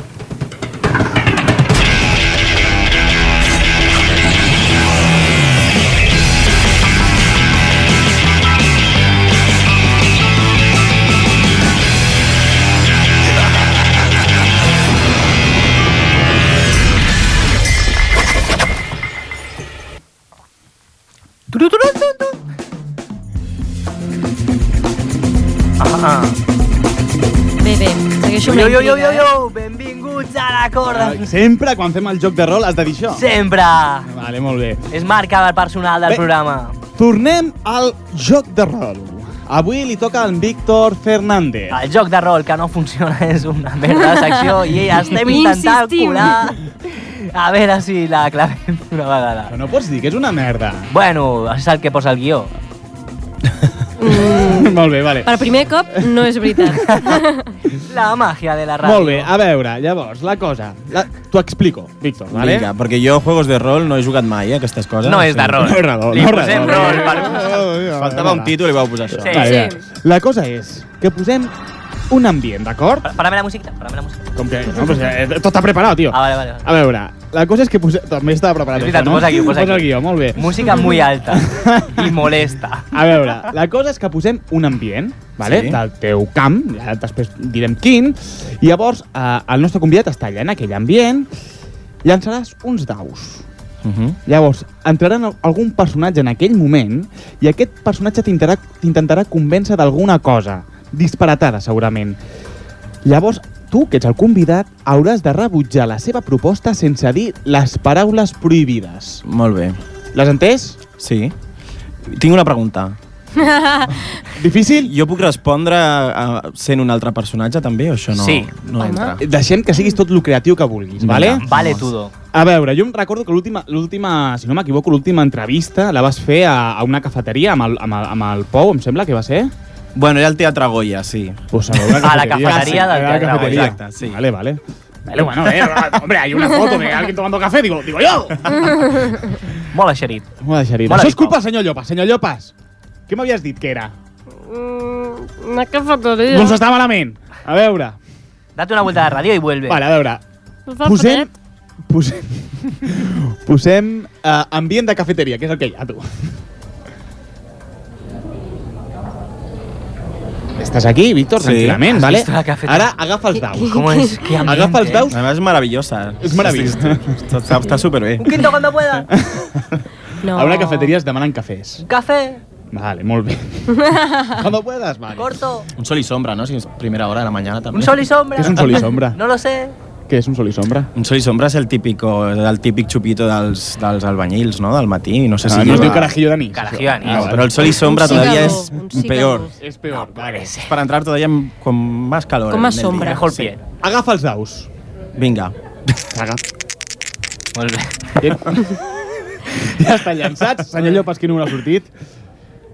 Speaker 6: Ah, ah.
Speaker 9: Bé, bé, segueixo amb
Speaker 6: Yo,
Speaker 9: la
Speaker 6: yo,
Speaker 9: intriga,
Speaker 6: yo, yo,
Speaker 9: eh?
Speaker 6: yo, benvinguts a la corda.
Speaker 1: Sempre quan fem el joc de rol has de dir això.
Speaker 6: Sempre.
Speaker 1: Vale, molt bé.
Speaker 6: És marca del personal del
Speaker 1: Bé.
Speaker 6: programa.
Speaker 1: Tornem al joc de rol. Avui li toca al Víctor Fernández.
Speaker 6: El joc de rol que no funciona és una merda de secció i estem intentant
Speaker 14: Insistim.
Speaker 6: curar. A veure si la clavem una vegada. Però
Speaker 1: no pots dir que és una merda.
Speaker 6: Bueno, és el que posa el guió.
Speaker 1: Mm. Molt bé, vale.
Speaker 9: Per primer cop, no és veritat.
Speaker 6: La magia de la ràdio.
Speaker 1: Molt bé, a veure, llavors, la cosa... La... T'ho explico, Víctor, vale?
Speaker 10: Vinga, perquè jo juegos de rol no he jugat mai, eh, aquestes coses.
Speaker 1: No és de rol.
Speaker 10: No és de rol.
Speaker 1: Li
Speaker 10: no és de
Speaker 1: posem
Speaker 10: rol.
Speaker 1: rol Oh,
Speaker 10: Faltava un títol i vau posar això.
Speaker 1: Vale, vale. La cosa és que posem un ambient, d'acord?
Speaker 6: Parame la musiquita, parame la musiquita.
Speaker 1: Com que... No, pues, eh, tot està preparat, tio.
Speaker 6: Ah, vale, vale. vale.
Speaker 1: A veure, la cosa és que posem... També estava preparat.
Speaker 6: És veritat,
Speaker 1: això, no?
Speaker 6: posa guió, posa
Speaker 1: posa
Speaker 6: guió.
Speaker 1: guió, molt bé.
Speaker 6: Música muy alta i molesta.
Speaker 1: A veure, la cosa és que posem un ambient, vale?
Speaker 6: Sí.
Speaker 1: sí. del teu camp, ja després direm quin, i llavors eh, el nostre convidat està allà en aquell ambient, llançaràs uns daus. Uh -huh. Llavors, entrarà en algun personatge en aquell moment i aquest personatge t'intentarà- t'intentarà convèncer d'alguna cosa, disparatada segurament. Llavors, tu, que ets el convidat, hauràs de rebutjar la seva proposta sense dir les paraules prohibides.
Speaker 10: Molt bé.
Speaker 1: L'has entès?
Speaker 10: Sí. Tinc una pregunta.
Speaker 1: Difícil?
Speaker 10: Jo puc respondre eh, sent un altre personatge, també, o això no,
Speaker 1: Sí.
Speaker 10: no entra?
Speaker 1: Deixem que siguis tot lo creatiu que vulguis, vale?
Speaker 6: Vale, Tudo.
Speaker 1: A veure, jo em recordo que l'última, l'última, si no m'equivoco, l'última entrevista la vas fer a, a una cafeteria amb el, amb, el, amb el Pou, em sembla que va ser?
Speaker 10: Bueno, era el Teatre Goya, sí.
Speaker 1: Pues a una
Speaker 10: A la
Speaker 1: cafeteria,
Speaker 10: cafeteria del
Speaker 1: a la
Speaker 10: Teatre
Speaker 1: cafeteria.
Speaker 10: Goya. Exacte, sí.
Speaker 1: Vale, vale. Vale, bueno, eh, hombre, hay una foto de alguien tomando café, digo, digo yo.
Speaker 6: Molt eixerit.
Speaker 1: M'ho deixaré.
Speaker 6: Mola,
Speaker 1: Això és culpa del senyor Llopas, senyor Llopas. Què m'havies dit que era?
Speaker 11: Una cafeteria.
Speaker 1: Doncs està malament. A veure.
Speaker 6: Date una vuelta de ràdio i vuelve.
Speaker 1: Vale, a veure.
Speaker 11: Em fa
Speaker 1: Posem, posem, posem eh, ambient de cafeteria, que és el que hi ha, tu. Estàs aquí, Víctor,
Speaker 10: Sí.
Speaker 1: tranquil·lament,
Speaker 10: Has
Speaker 1: vale?
Speaker 10: visto la cafeteria?
Speaker 1: Ara agafa els daus.
Speaker 10: ¿Cómo es? Qué ambiente.
Speaker 1: Agafa els daus.
Speaker 10: Además es maravillosa.
Speaker 1: Es maravillosa.
Speaker 10: Está- Está está súper bien.
Speaker 6: Quinto cuando pueda. No.
Speaker 1: A una cafeteria es demanen cafès.
Speaker 6: Café.
Speaker 1: Vale, molt bé. Cuando puedas, vale.
Speaker 6: Corto.
Speaker 10: Un sol y sombra, ¿no? Si es primera hora de la mañana también.
Speaker 6: Un sol y sombra.
Speaker 10: ¿Qué es un sol y sombra?
Speaker 6: No lo sé.
Speaker 1: Què és un sol i sombra?
Speaker 10: Un sol i sombra és el, típico, el típic xupito dels, dels albanyils, no? Del matí, no sé si...
Speaker 1: Ah, no es
Speaker 10: lleva-
Speaker 1: diu carajillo d'anís.
Speaker 2: Carajillo d'anís.
Speaker 10: Ah, però el sol i sombra
Speaker 2: Un
Speaker 10: todavía
Speaker 2: cígado,
Speaker 10: es
Speaker 2: un cígado.
Speaker 10: peor.
Speaker 1: És peor, vale.
Speaker 10: Es para entrar todavía en- con más calor.
Speaker 1: Con
Speaker 10: en
Speaker 1: más
Speaker 10: el
Speaker 1: sombra.
Speaker 10: día.
Speaker 1: Mejor
Speaker 10: Sí.
Speaker 1: pie. Agafa els daus.
Speaker 10: Vinga.
Speaker 1: Aga.
Speaker 2: Molt
Speaker 1: bé. ja està llançats. Senyor Llopas, quin número ha sortit?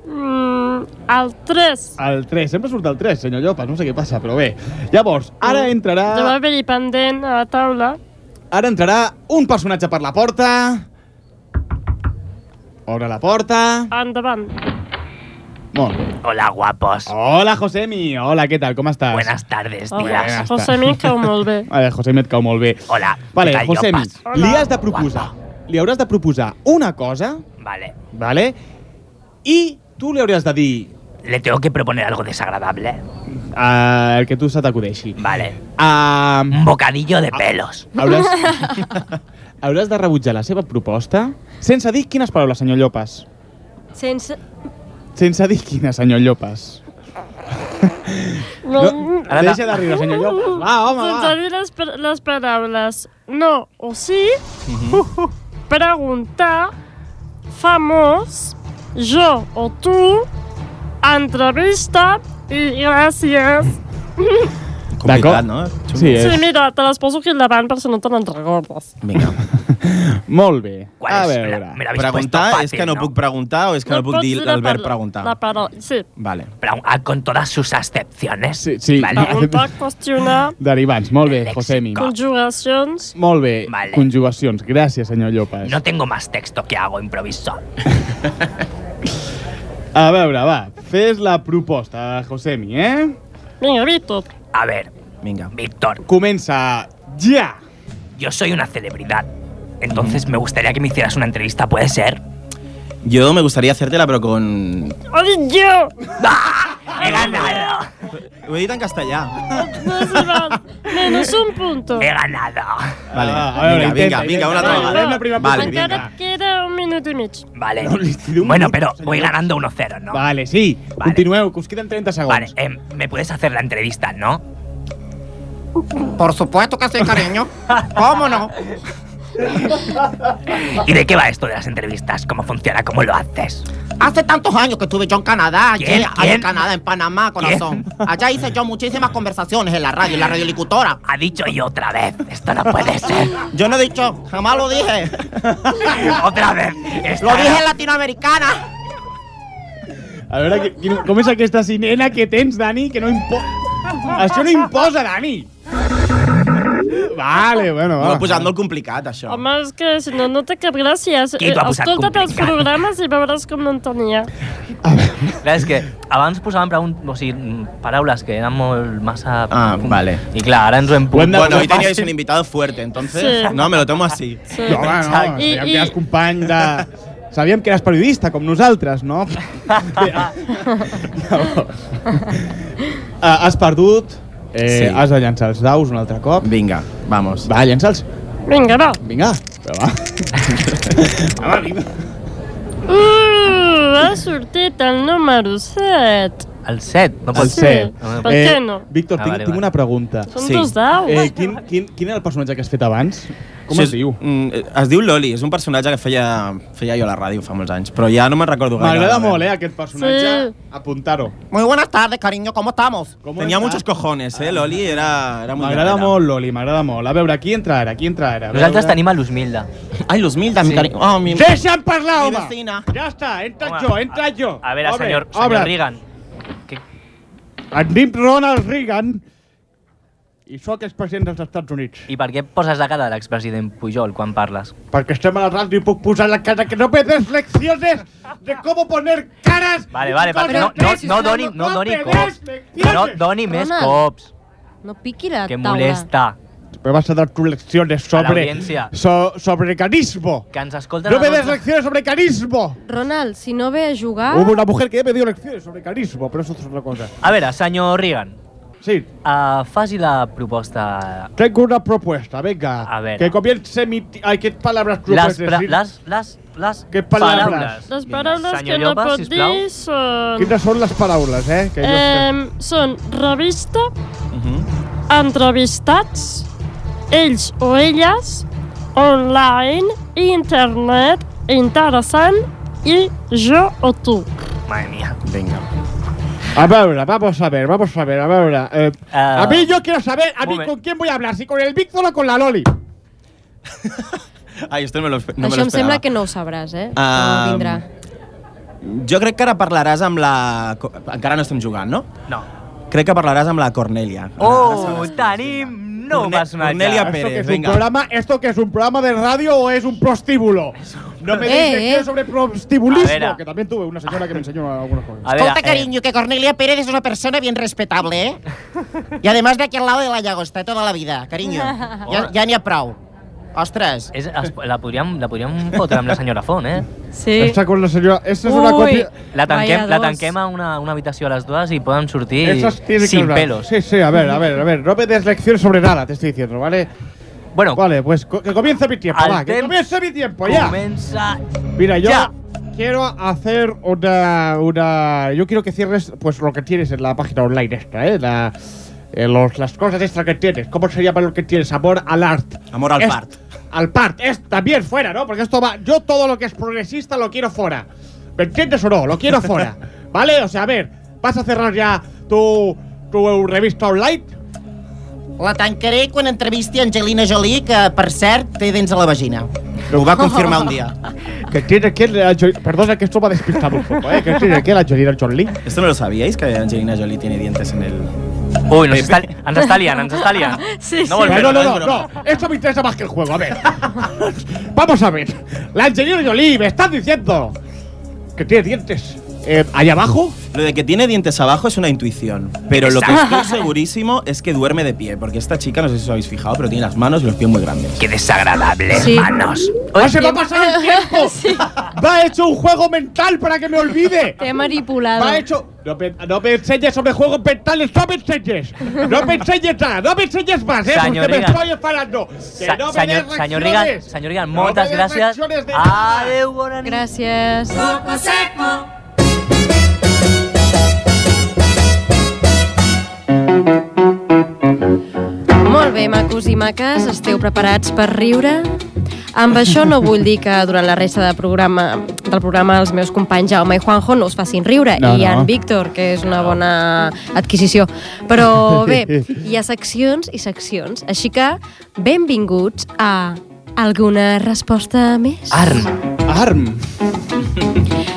Speaker 11: Mm, el 3.
Speaker 1: El 3. Sempre surt el 3, senyor Llopas. No sé què passa, però bé. Llavors, ara entrarà...
Speaker 11: Ja va venir pendent a la taula.
Speaker 1: Ara entrarà un personatge per la porta. Obre la porta.
Speaker 11: Endavant.
Speaker 1: Molt bé.
Speaker 2: Hola, guapos.
Speaker 1: Hola, Josemi. Hola, què tal? Com estàs? Buenas
Speaker 2: tardes,
Speaker 11: Hola, Oh, José, mi cau molt bé.
Speaker 1: Vale, Josemi et cau molt bé.
Speaker 2: Hola,
Speaker 1: Vale,
Speaker 2: què tal,
Speaker 1: Josemi,
Speaker 2: Llopas?
Speaker 1: li has de proposar... Li hauràs de proposar una cosa,
Speaker 2: Vale.
Speaker 1: vale? I tu li hauries de dir
Speaker 2: Le tengo que proponer algo desagradable.
Speaker 1: eh, el que tu se t'acudeixi.
Speaker 2: Vale.
Speaker 1: Uh,
Speaker 2: Un bocadillo de pelos.
Speaker 1: Hauràs, hauràs de rebutjar la seva proposta sense dir quines paraules, senyor Llopas.
Speaker 11: Sense...
Speaker 1: Sense dir quines, senyor Llopas. No,
Speaker 11: No, mm.
Speaker 1: Ara deixa de riure, senyor Llopas. Va, home,
Speaker 11: Sense
Speaker 1: va.
Speaker 11: dir Doncs les, pa- les paraules no o sí, uh, preguntar, famós, jo o tu, entrevista i gràcies.
Speaker 10: Complicat, no?
Speaker 11: Sí, mira, te les poso aquí al davant per si no te n'entregordes.
Speaker 10: Vinga.
Speaker 1: Molt bé.
Speaker 10: ¿Cuál es? Me la- me la habéis
Speaker 2: Preguntar
Speaker 10: puesto
Speaker 2: es
Speaker 10: fácil,
Speaker 2: que no
Speaker 10: ¿no?
Speaker 2: puc preguntar o es
Speaker 10: que no puc
Speaker 2: puc
Speaker 10: dir
Speaker 2: dir el verb
Speaker 11: preguntar. La paraula, sí.
Speaker 1: Vale.
Speaker 2: con todas sus acepciones.
Speaker 1: Sí, sí.
Speaker 11: Preguntar, qüestionar,
Speaker 1: Derivants, molt bé, Josemi.
Speaker 11: conjugacions...
Speaker 1: Molt bé,
Speaker 2: Vale.
Speaker 1: conjugacions. Gràcies, senyor Llopas.
Speaker 2: No tengo más texto que hago improviso.
Speaker 1: A veure, va, fes la proposta, Josemi, eh?
Speaker 11: Vinga, Víctor.
Speaker 2: A ver,
Speaker 10: Venga.
Speaker 2: Víctor.
Speaker 1: Comienza ya.
Speaker 2: Yo soy una celebridad. Entonces me gustaría que me hicieras una entrevista, ¿puede ser?
Speaker 10: Yo me gustaría hacértela, pero con...
Speaker 11: ¡Oye, yo!
Speaker 2: Ah! ¡He ganado!
Speaker 10: Ho he dit en castellà.
Speaker 11: No se va. Menos un punto.
Speaker 2: ¡He ganado!
Speaker 10: Ah, Vale.
Speaker 1: a veure,
Speaker 10: vinga,
Speaker 1: intenta,
Speaker 10: vinga, vinga, una
Speaker 1: intenta.
Speaker 10: altra
Speaker 1: Vale,
Speaker 10: vegada.
Speaker 1: una prima
Speaker 10: Vale,
Speaker 11: Encara
Speaker 10: vinga.
Speaker 11: et queda un minut i mig.
Speaker 2: Vale. Eh, bueno, pero voy ganando 1-0, ¿no?
Speaker 1: Vale, sí. Continueu, que us queden 30 segons.
Speaker 2: Vale, em, me puedes hacer la entrevista, ¿no?
Speaker 18: Por supuesto que sí, cariño. ¿Cómo no?
Speaker 2: ¿Y de qué va esto de las entrevistas? ¿Cómo funciona? ¿Cómo lo haces?
Speaker 18: Hace tantos años que estuve yo en Canadá, allí,
Speaker 2: ¿Quién?
Speaker 18: allí
Speaker 2: ¿Quién?
Speaker 18: en Canadá, en Panamá, corazón. Allá hice yo muchísimas conversaciones en la radio, en la radiolicutora.
Speaker 2: Ha dicho yo otra vez. Esto no puede ser.
Speaker 18: Yo no he dicho, jamás lo dije.
Speaker 2: otra vez.
Speaker 18: Lo dije en latinoamericana.
Speaker 1: A veure, qui- quin- com és aquesta cinena que tens, Dani, que no impo...
Speaker 11: Ah,
Speaker 1: Això no imposa, Dani! Vale, bueno,
Speaker 10: No,
Speaker 1: va.
Speaker 10: he posat molt complicat, això.
Speaker 11: Home, és que si no, no té cap gràcia.
Speaker 2: Qui t'ho ha posat
Speaker 11: Escolta't els
Speaker 2: complicat?
Speaker 11: programes i veuràs com no en tenia.
Speaker 2: Clar, és que abans posàvem pregun o sigui, mm, paraules que eren molt massa...
Speaker 10: Ah, vale.
Speaker 2: I clar, ara ens ho hem pogut...
Speaker 10: Bueno, hoy teníais un invitado fuerte, entonces...
Speaker 2: Sí.
Speaker 10: No, me lo tomo así.
Speaker 11: Sí.
Speaker 1: No, home, no, sabíem
Speaker 11: I-
Speaker 1: que
Speaker 11: i-
Speaker 1: eres company de... Sabíem que eres periodista, com nosaltres, no? Llavors, eh, has perdut, eh,
Speaker 10: Sí.
Speaker 1: has de llançar els daus un altre cop.
Speaker 10: Vinga, vamos.
Speaker 1: Va, llança'ls.
Speaker 11: Vinga, va.
Speaker 1: Vinga, però va. Home, vinga.
Speaker 11: Uh, ha sortit el número 7.
Speaker 2: El 7, no pot
Speaker 1: El
Speaker 2: ser.
Speaker 1: set. Eh,
Speaker 2: No, no.
Speaker 11: Per què no?
Speaker 1: Víctor,
Speaker 2: Ah,
Speaker 1: tinc,
Speaker 2: vale,
Speaker 1: tinc
Speaker 2: vale.
Speaker 1: una pregunta.
Speaker 11: Són Sí. dos daus.
Speaker 1: Eh, quin, quin, quin era el personatge que has fet abans? Com
Speaker 10: Sí,
Speaker 1: es diu?
Speaker 10: Mm, es diu Loli, és un personatge que feia, feia jo a la ràdio fa molts anys, però ja no me'n recordo gaire.
Speaker 1: M'agrada
Speaker 10: la
Speaker 1: molt, eh,
Speaker 10: veritat.
Speaker 1: aquest personatge. Apuntar-ho.
Speaker 18: Muy buenas tardes, cariño, ¿cómo estamos?
Speaker 10: Tenia muchos cojones, eh, Loli, era, era molt
Speaker 1: M'agrada
Speaker 10: guerrera.
Speaker 1: molt, Loli, m'agrada molt. A veure, qui entra ara? Qui entra ara? A veure.
Speaker 2: Nosaltres tenim a l'Usmilda.
Speaker 10: Ai, l'Usmilda,
Speaker 2: Sí.
Speaker 10: mi cari... Oh, mi...
Speaker 1: Deixa'm parlar,
Speaker 10: Mi
Speaker 1: home!
Speaker 10: vecina.
Speaker 1: Ja està, entra
Speaker 2: Home,
Speaker 1: jo, entra jo.
Speaker 2: A veure,
Speaker 1: Obre,
Speaker 2: senyor,
Speaker 1: obre.
Speaker 2: senyor Reagan.
Speaker 1: Em dic Ronald Reagan i sóc expresident dels Estats Units.
Speaker 2: I per què poses la cara de l'expresident Pujol quan parles?
Speaker 1: Perquè estem a la ràdio i puc posar la cara que no me des lecciones de cómo poner caras.
Speaker 2: Vale, vale,
Speaker 1: Con
Speaker 2: vale. No,
Speaker 1: el
Speaker 2: no,
Speaker 1: pez.
Speaker 2: no doni, no
Speaker 1: me
Speaker 2: doni
Speaker 1: des
Speaker 2: cops. No doni més
Speaker 9: Ronald.
Speaker 2: cops,
Speaker 9: No piqui la
Speaker 2: que
Speaker 9: taula.
Speaker 2: molesta.
Speaker 1: me vas a dar tus lecciones sobre,
Speaker 6: audiencia.
Speaker 1: so- sobre carisma.
Speaker 6: Que ens escolten...
Speaker 1: No
Speaker 6: a
Speaker 1: me
Speaker 6: tots
Speaker 1: des lecciones sobre carisma.
Speaker 9: Ronald, si no ve a jugar...
Speaker 1: Hubo una mujer que ya me dio lecciones sobre carisma, pero eso es otra cosa.
Speaker 6: A veure, senyor Reagan.
Speaker 1: Sí.
Speaker 6: Uh, faci la proposta...
Speaker 1: Tengo una propuesta, venga.
Speaker 6: A ver.
Speaker 1: Que comience mi... ti- Ay, qué palabras tú
Speaker 6: Las,
Speaker 1: puedes
Speaker 6: pra-
Speaker 1: decir.
Speaker 6: les, les, les
Speaker 1: ¿Qué palabras?
Speaker 11: Les paraules que
Speaker 6: senyor
Speaker 11: no
Speaker 6: Llopa,
Speaker 11: pot
Speaker 6: sisplau.
Speaker 11: dir són...
Speaker 1: Quines són les paraules, eh? Que jo Mhm. sé.
Speaker 11: Eh, són revista, entrevistats, ells o elles, online, internet, interessant i jo o tu.
Speaker 6: Madre mía.
Speaker 1: Venga. A ver, vamos a ver, vamos a ver, a ver. eh,
Speaker 6: Ah.
Speaker 1: a mí yo quiero saber, a mí
Speaker 10: moment.
Speaker 1: con quién voy a hablar, si con el Víctor o con la Loli.
Speaker 10: Ai, esto no me lo, espe- no me
Speaker 9: Això
Speaker 10: lo
Speaker 9: em sembla
Speaker 10: esperava.
Speaker 9: que no ho sabràs, eh?
Speaker 10: Ah,
Speaker 9: no vindrà.
Speaker 10: Jo crec que ara parlaràs amb la... co- Encara no estem jugant, no?
Speaker 6: No.
Speaker 10: Crec que parlaràs amb la Cornelia.
Speaker 6: Oh, tenim nou personatge.
Speaker 10: Cornelia
Speaker 1: ¿Esto Ah, que
Speaker 10: Pérez,
Speaker 1: es un
Speaker 10: vinga.
Speaker 1: programa, ¿Esto que es un programa de radio o es un prostíbulo? No me
Speaker 18: Eh,
Speaker 1: digas que
Speaker 18: eh.
Speaker 1: quiero sobre
Speaker 18: A
Speaker 1: prostibulismo,
Speaker 18: ver.
Speaker 1: que también tuve una señora que me enseñó algunas cosas.
Speaker 2: eh.
Speaker 6: eh.
Speaker 18: Escolta, cariño, que Cornelia Pérez es una persona bien respetable, ¿eh? Y además de aquí al lado de la llagosta, toda la vida, cariño. Ja, ja n'hi ha prou. Ostres.
Speaker 6: És, es, la, podríem, la podríem fotre amb la senyora Font, eh?
Speaker 9: Sí.
Speaker 1: Esta con la señora, esta es una copia.
Speaker 6: La tanquem,
Speaker 1: Vaya
Speaker 6: la
Speaker 1: dos.
Speaker 6: tanquem a una, una habitació a les dues i poden sortir
Speaker 1: Esas tienen que
Speaker 6: sin
Speaker 1: hablar.
Speaker 6: pelos.
Speaker 1: Sí, sí, a ver, a ver, a ver. No me des lecciones sobre nada, te estoy diciendo, ¿vale?
Speaker 6: Bueno.
Speaker 1: Vale, pues co- que comience mi tiempo,
Speaker 6: Al
Speaker 1: va, que
Speaker 6: temps
Speaker 1: comience mi tiempo, ya.
Speaker 6: Comença...
Speaker 1: Mira, yo
Speaker 6: Ya.
Speaker 1: quiero hacer una, una... Yo quiero que cierres pues lo que tienes en la página online esta, ¿eh? La- eh, los- las cosas extra que tienes. ¿Cómo se llama lo que tienes? Amor al art.
Speaker 10: Amor al
Speaker 1: Es-
Speaker 10: part.
Speaker 1: Al part. Es también fuera, ¿no? Porque esto va... Yo todo lo que es progresista lo quiero fuera. ¿Me entiendes o no? Lo quiero fuera. ¿Vale? O sea, a ver. ¿Vas a cerrar ya tu, tu revista online?
Speaker 18: La tancaré quan entrevisti Angelina Jolie, que, per cert, té dents a la vagina.
Speaker 10: Ho va confirmar un dia.
Speaker 1: Que tiene que... la Joli- Perdona que esto me ha despistado un poco, ¿eh? Que tiene que la Angelina Jolie.
Speaker 10: ¿Esto no lo sabíais, que Angelina Jolie tiene dientes en el...
Speaker 6: Uy, nos está, ens està liant, ens està liant.
Speaker 1: Sí,
Speaker 6: no
Speaker 1: sí.
Speaker 6: volvem,
Speaker 1: no, no,
Speaker 6: no
Speaker 1: no,
Speaker 6: és
Speaker 1: no, Esto me interesa más que el juego. A ver. Vamos a ver. La Angelina Jolie, me estás diciendo que tiene dientes. Eh, ¿Allá abajo?
Speaker 10: Lo de que tiene dientes abajo es una intuición. Pero lo que estoy segurísimo es que duerme de pie. Porque esta chica, no sé si os habéis fijado, pero tiene las manos y los pies muy grandes.
Speaker 6: ¡Qué desagradable,
Speaker 10: Sí.
Speaker 6: hermanos!
Speaker 1: ¡Ah, se me ha pasado el tiempo! ¡Me ha hecho un juego mental para que me olvide!
Speaker 9: Te he manipulado.
Speaker 1: Me ha hecho. No me, no me enseñes sobre juegos mentales, no me enseñes. No me enseñes nada, no me enseñes más, ¿eh?
Speaker 6: Señor
Speaker 1: Porque me
Speaker 6: Reagan.
Speaker 1: estoy enfadando. Que
Speaker 6: Sa-
Speaker 1: no me
Speaker 6: senyor,
Speaker 1: des
Speaker 6: senyor
Speaker 1: lecciones.
Speaker 6: Reagan, senyor Reagan,
Speaker 1: No me
Speaker 6: moltes
Speaker 1: des
Speaker 6: gràcies.
Speaker 1: lecciones de nada.
Speaker 6: Adeu, bona nit.
Speaker 9: Gràcies.
Speaker 19: Coco seco.
Speaker 9: Molt bé, macos i maques, esteu preparats per riure? Amb això no vull dir que durant la resta del programa, del programa els meus companys Jaume i Juanjo no us facin riure,
Speaker 17: No,
Speaker 9: i
Speaker 17: no.
Speaker 9: en Víctor, que és una bona adquisició. Però bé, hi ha seccions i seccions, així que benvinguts a alguna resposta més?
Speaker 6: Arm.
Speaker 1: Arm.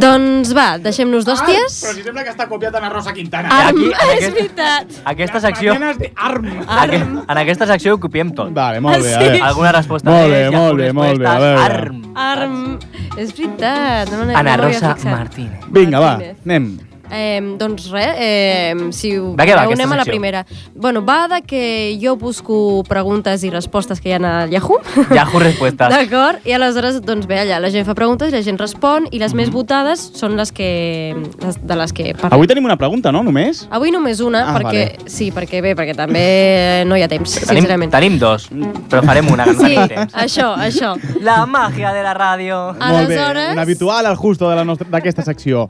Speaker 9: Doncs va, deixem-nos d'hòsties.
Speaker 1: Però si sembla que està copiat en Rosa Quintana.
Speaker 9: Arm,
Speaker 6: Aquí, en
Speaker 9: és
Speaker 6: aquest-
Speaker 9: veritat.
Speaker 6: Aquesta secció...
Speaker 1: Arm.
Speaker 6: Aqu en aquesta secció ho copiem tot.
Speaker 1: Vale,
Speaker 6: molt
Speaker 1: bé, a veure.
Speaker 6: Alguna resposta
Speaker 1: Molt bé,
Speaker 6: més, i
Speaker 1: molt bé,
Speaker 6: algunes
Speaker 1: molt bé, a
Speaker 6: respostes.
Speaker 1: veure.
Speaker 6: Arm.
Speaker 9: Arm. És veritat. No, me n'he-
Speaker 6: Ana
Speaker 9: no m'havia
Speaker 6: Rosa
Speaker 9: fixat.
Speaker 6: Martínez.
Speaker 1: Vinga, va, anem.
Speaker 9: Eh, doncs res, eh, si ho
Speaker 6: De què va
Speaker 9: anem
Speaker 6: aquesta
Speaker 9: a la
Speaker 6: secció?
Speaker 9: primera. Bueno, va de que jo busco preguntes i respostes que hi ha a Yahoo.
Speaker 6: Yahoo respuestas.
Speaker 9: D'acord? I aleshores, doncs bé, allà la gent fa preguntes i la gent respon i
Speaker 6: Mhm.
Speaker 9: les més votades són les que... Les, de les que parlem.
Speaker 1: Avui tenim una pregunta, no, només?
Speaker 9: Avui només una,
Speaker 1: Ah,
Speaker 9: perquè... Sí, perquè bé, perquè també no hi ha temps,
Speaker 6: Tenim,
Speaker 9: sincerament.
Speaker 6: tenim dos, però farem una. que ens
Speaker 9: Sí,
Speaker 6: agrada.
Speaker 9: això, això.
Speaker 6: La màgia de la ràdio.
Speaker 1: Molt bé, un habitual al justo de la nostra- d'aquesta secció.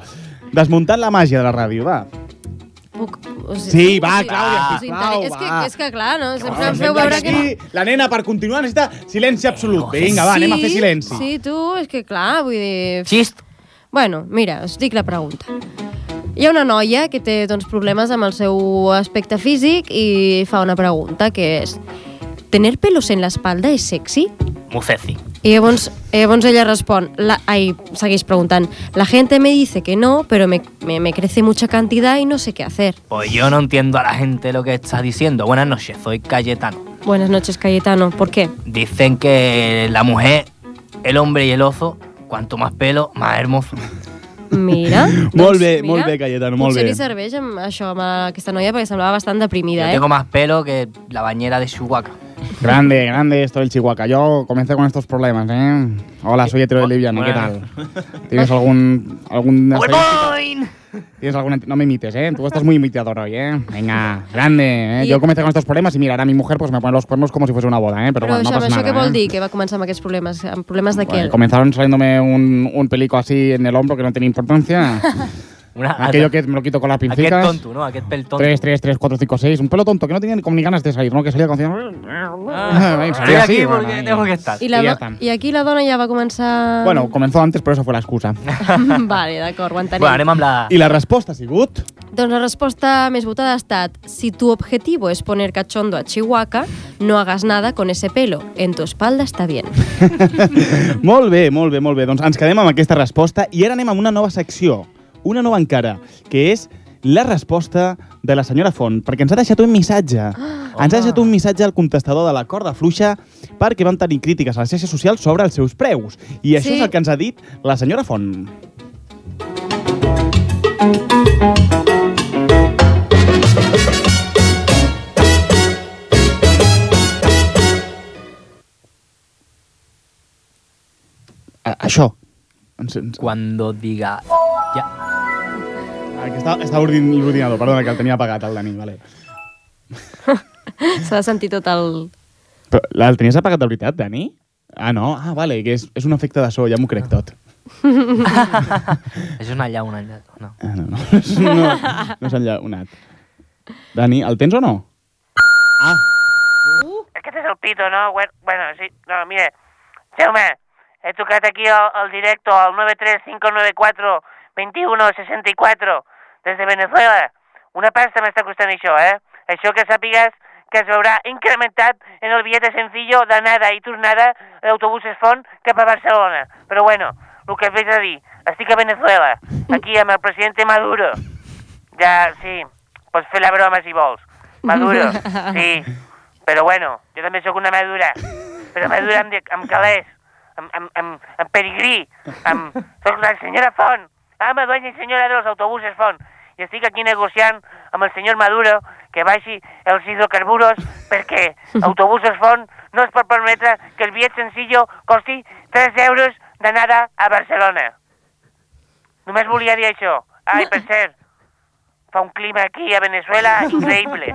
Speaker 1: Desmuntant la màgia de la ràdio, va.
Speaker 9: Puc, us,
Speaker 1: Sí, va, Clàudia,
Speaker 9: us
Speaker 1: sisplau,
Speaker 9: inter- és, que,
Speaker 1: va.
Speaker 9: és que, clar, no? Sempre
Speaker 1: Però
Speaker 9: em feu veure que...
Speaker 1: aquí, La nena, per continuar, necessita silenci absolut. Vinga, va, anem a fer silenci.
Speaker 9: Sí, tu, és que clar, vull dir...
Speaker 6: Xist.
Speaker 9: Bueno, mira, us dic la pregunta. Hi ha una noia que té doncs, problemes amb el seu aspecte físic i fa una pregunta que és ¿Tener pelos en la espalda és sexy?
Speaker 6: Muceci.
Speaker 9: I llavors, llavors ella respon, la, ai, segueix preguntant, la gente me dice que no, pero me, me, me crece mucha cantidad y no sé qué hacer.
Speaker 6: Pues yo no entiendo a la gente lo que está diciendo. Buenas noches, soy Cayetano.
Speaker 9: Buenas noches, Cayetano. ¿Por qué?
Speaker 6: Dicen que la mujer, el hombre y el oso, cuanto más pelo, más hermoso.
Speaker 9: Mira.
Speaker 1: Molt bé,
Speaker 9: mira,
Speaker 1: Eh, molt bé, Cayetano, molt
Speaker 9: Potser
Speaker 1: bé.
Speaker 9: li serveix amb això, amb aquesta noia, perquè semblava bastant deprimida,
Speaker 6: Yo
Speaker 9: eh?
Speaker 6: tengo más pelo que la bañera de Chihuahua.
Speaker 14: Grande, grande esto del Chihuahua. Yo comencé con estos problemas, ¿eh? Hola, soy hetero y liviano, ¿qué tal? ¿Tienes algún... algún ¿Tienes alguna... No me imites, ¿eh? Tú estás muy imitador hoy, ¿eh? Venga, grande, ¿eh? Yo comencé con estos problemas y mira, ara mi mujer pues me pone los cuernos como si fuese una boda, ¿eh? Pero,
Speaker 9: Però,
Speaker 14: bueno, no
Speaker 9: això,
Speaker 14: pasa
Speaker 9: això
Speaker 14: nada,
Speaker 9: què vol
Speaker 14: ¿eh?
Speaker 9: dir, que va començar amb aquests problemes? Amb problemes de què?
Speaker 14: Eh, Comenzaron saliéndome un, un pelico así en el hombro que no tenía importancia. Aquello que me lo quito con las
Speaker 6: Aquest
Speaker 14: pincitas.
Speaker 6: tonto, no? Aquest pèl tonto.
Speaker 14: 3, 3, 3, 4, 5, 6. Un pelo tonto que no tenía como ni ganas de salir, ¿no? Que salía con... Ay,
Speaker 6: Ah. Estoy
Speaker 14: salía así,
Speaker 6: aquí
Speaker 14: bueno,
Speaker 6: porque
Speaker 14: ahí.
Speaker 6: tengo que estar.
Speaker 9: I, la,
Speaker 14: I ja
Speaker 9: do-
Speaker 14: està.
Speaker 9: I aquí la dona ja va començar...
Speaker 14: Bueno, comenzó antes, pero esa fue la excusa.
Speaker 9: vale, d'acord, ho entenem.
Speaker 14: I la resposta ha sigut...
Speaker 9: Doncs la resposta més votada ha estat Si tu objetivo es poner cachondo a Chihuahua, no hagas nada con ese pelo. En tu espalda está bien.
Speaker 1: Molt bé, molt bé, molt bé. Doncs ens quedem amb aquesta resposta i ara anem amb una nova secció, una nova encara, que és la resposta de la senyora Font, perquè ens ha deixat un missatge. ens ha deixat un missatge al contestador de la corda fluixa perquè vam tenir crítiques a les xarxes socials sobre els seus preus. I això és
Speaker 9: Sí.
Speaker 1: el que ens ha dit la senyora Font. A això.
Speaker 6: Cuando diga... Ja.
Speaker 1: Ah, que està, està ordin- l'ordinador, perdona, que el tenia apagat el Dani, vale.
Speaker 9: S'ha de sentir tot el...
Speaker 1: Però la- el tenies apagat de veritat, Dani? Ah, no? Ah, vale, que és, és un efecte de so, ja m'ho crec tot.
Speaker 6: Això és una llauna. allà. No.
Speaker 1: Ah, no, no, no, no s'ha enllaunat. Dani, el tens o no?
Speaker 20: Es que este es el pito, ¿no? Bueno, bueno, sí, no, mire, Jaume, he trucat aquí al, al directo al 93594-2164 des de Venezuela. Una pasta m'està costant això, eh? Això que sàpigues que es veurà incrementat en el bitllet sencillo d'anada i tornada d'autobuses Font cap a Barcelona. Però bueno, el que veig a dir, estic a Venezuela, aquí amb el president Maduro. Ja, sí, pots fer la broma si vols. Maduro, sí, però bueno, jo també sóc una madura. Però madura amb, amb calés, amb, amb, amb, amb perigrí, amb... Soc la senyora Font, ama, dueña i senyora dels autobuses Font. I estic aquí negociant amb el senyor Maduro que baixi els hidrocarburos perquè autobusos Font no es pot permetre que el bitllet sencillo costi 3 euros d'anada a Barcelona. Només volia dir això. Ai, per cert, fa un clima aquí a Venezuela increïble.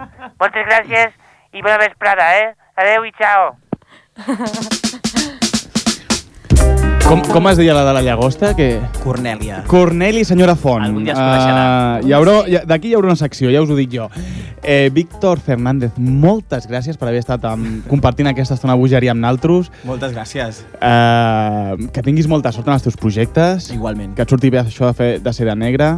Speaker 20: Moltes gràcies i bona vesprada, eh? Adeu i ciao.
Speaker 1: Com, com es deia la de la llagosta? Que...
Speaker 10: Cornèlia.
Speaker 1: Corneli, senyora Font. Algun
Speaker 10: dia es
Speaker 1: coneixerà. Uh, hi haurà, hi ha- d'aquí hi haurà una secció, ja us ho dic jo. Eh, Víctor Fernández, moltes gràcies per haver estat amb, compartint aquesta estona bogeria amb naltros.
Speaker 10: Moltes gràcies.
Speaker 1: Eh, que tinguis molta sort en els teus projectes.
Speaker 10: Igualment.
Speaker 1: Que et surti bé això de, fer, de ser de negre.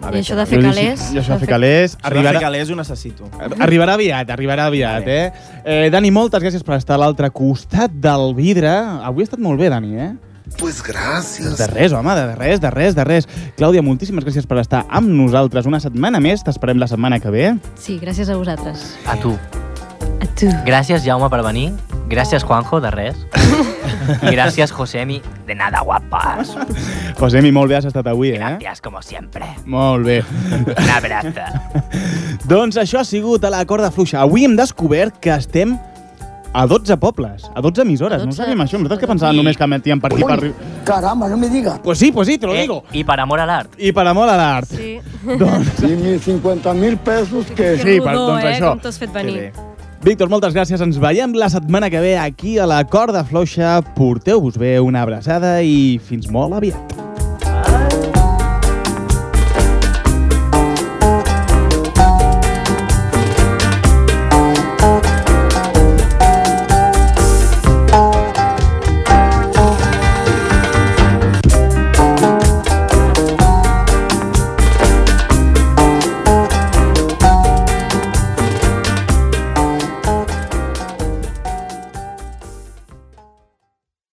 Speaker 10: A veure, això de fer
Speaker 1: Jo li-
Speaker 10: calés.
Speaker 1: I això de fer calés.
Speaker 10: Això de fer
Speaker 1: Arribarà,
Speaker 10: calés ho necessito.
Speaker 1: arribarà aviat, arribarà aviat, eh? eh? Dani, moltes gràcies per estar a l'altre costat del vidre. Avui ha estat molt bé, Dani, eh?
Speaker 5: Pues gracias.
Speaker 1: De res, home, de res, de res, de res. Clàudia, moltíssimes gràcies per estar amb nosaltres una setmana més. T'esperem la setmana que ve.
Speaker 9: Sí, gràcies a vosaltres.
Speaker 6: A tu. A tu. Gràcies, Jaume, per venir. Gràcies, Juanjo, de res. I gràcies, Josemi, de nada, guapas.
Speaker 1: Josemi, molt bé has estat avui, eh?
Speaker 6: Gràcies, como siempre.
Speaker 1: Molt bé.
Speaker 6: Un abrazo.
Speaker 1: doncs això ha sigut a la corda fluixa. Avui hem descobert que estem a 12 pobles, a 12 emissores. No sabíem això. Nosaltres que pensàvem només que emetien per aquí per... Ui,
Speaker 5: caramba, no me digas.
Speaker 1: Pues sí, pues sí, te lo digo.
Speaker 6: I Eh, per amor a l'art.
Speaker 1: I per amor a l'art.
Speaker 9: Sí.
Speaker 1: Doncs...
Speaker 5: I mis 50 mil pesos que...
Speaker 1: Sí, per, doncs
Speaker 9: eh,
Speaker 1: això.
Speaker 9: Com t'ho has fet venir.
Speaker 1: Víctor, moltes gràcies. Ens veiem la setmana que ve aquí a la Corda Floixa. Porteu-vos bé, una abraçada i fins molt aviat.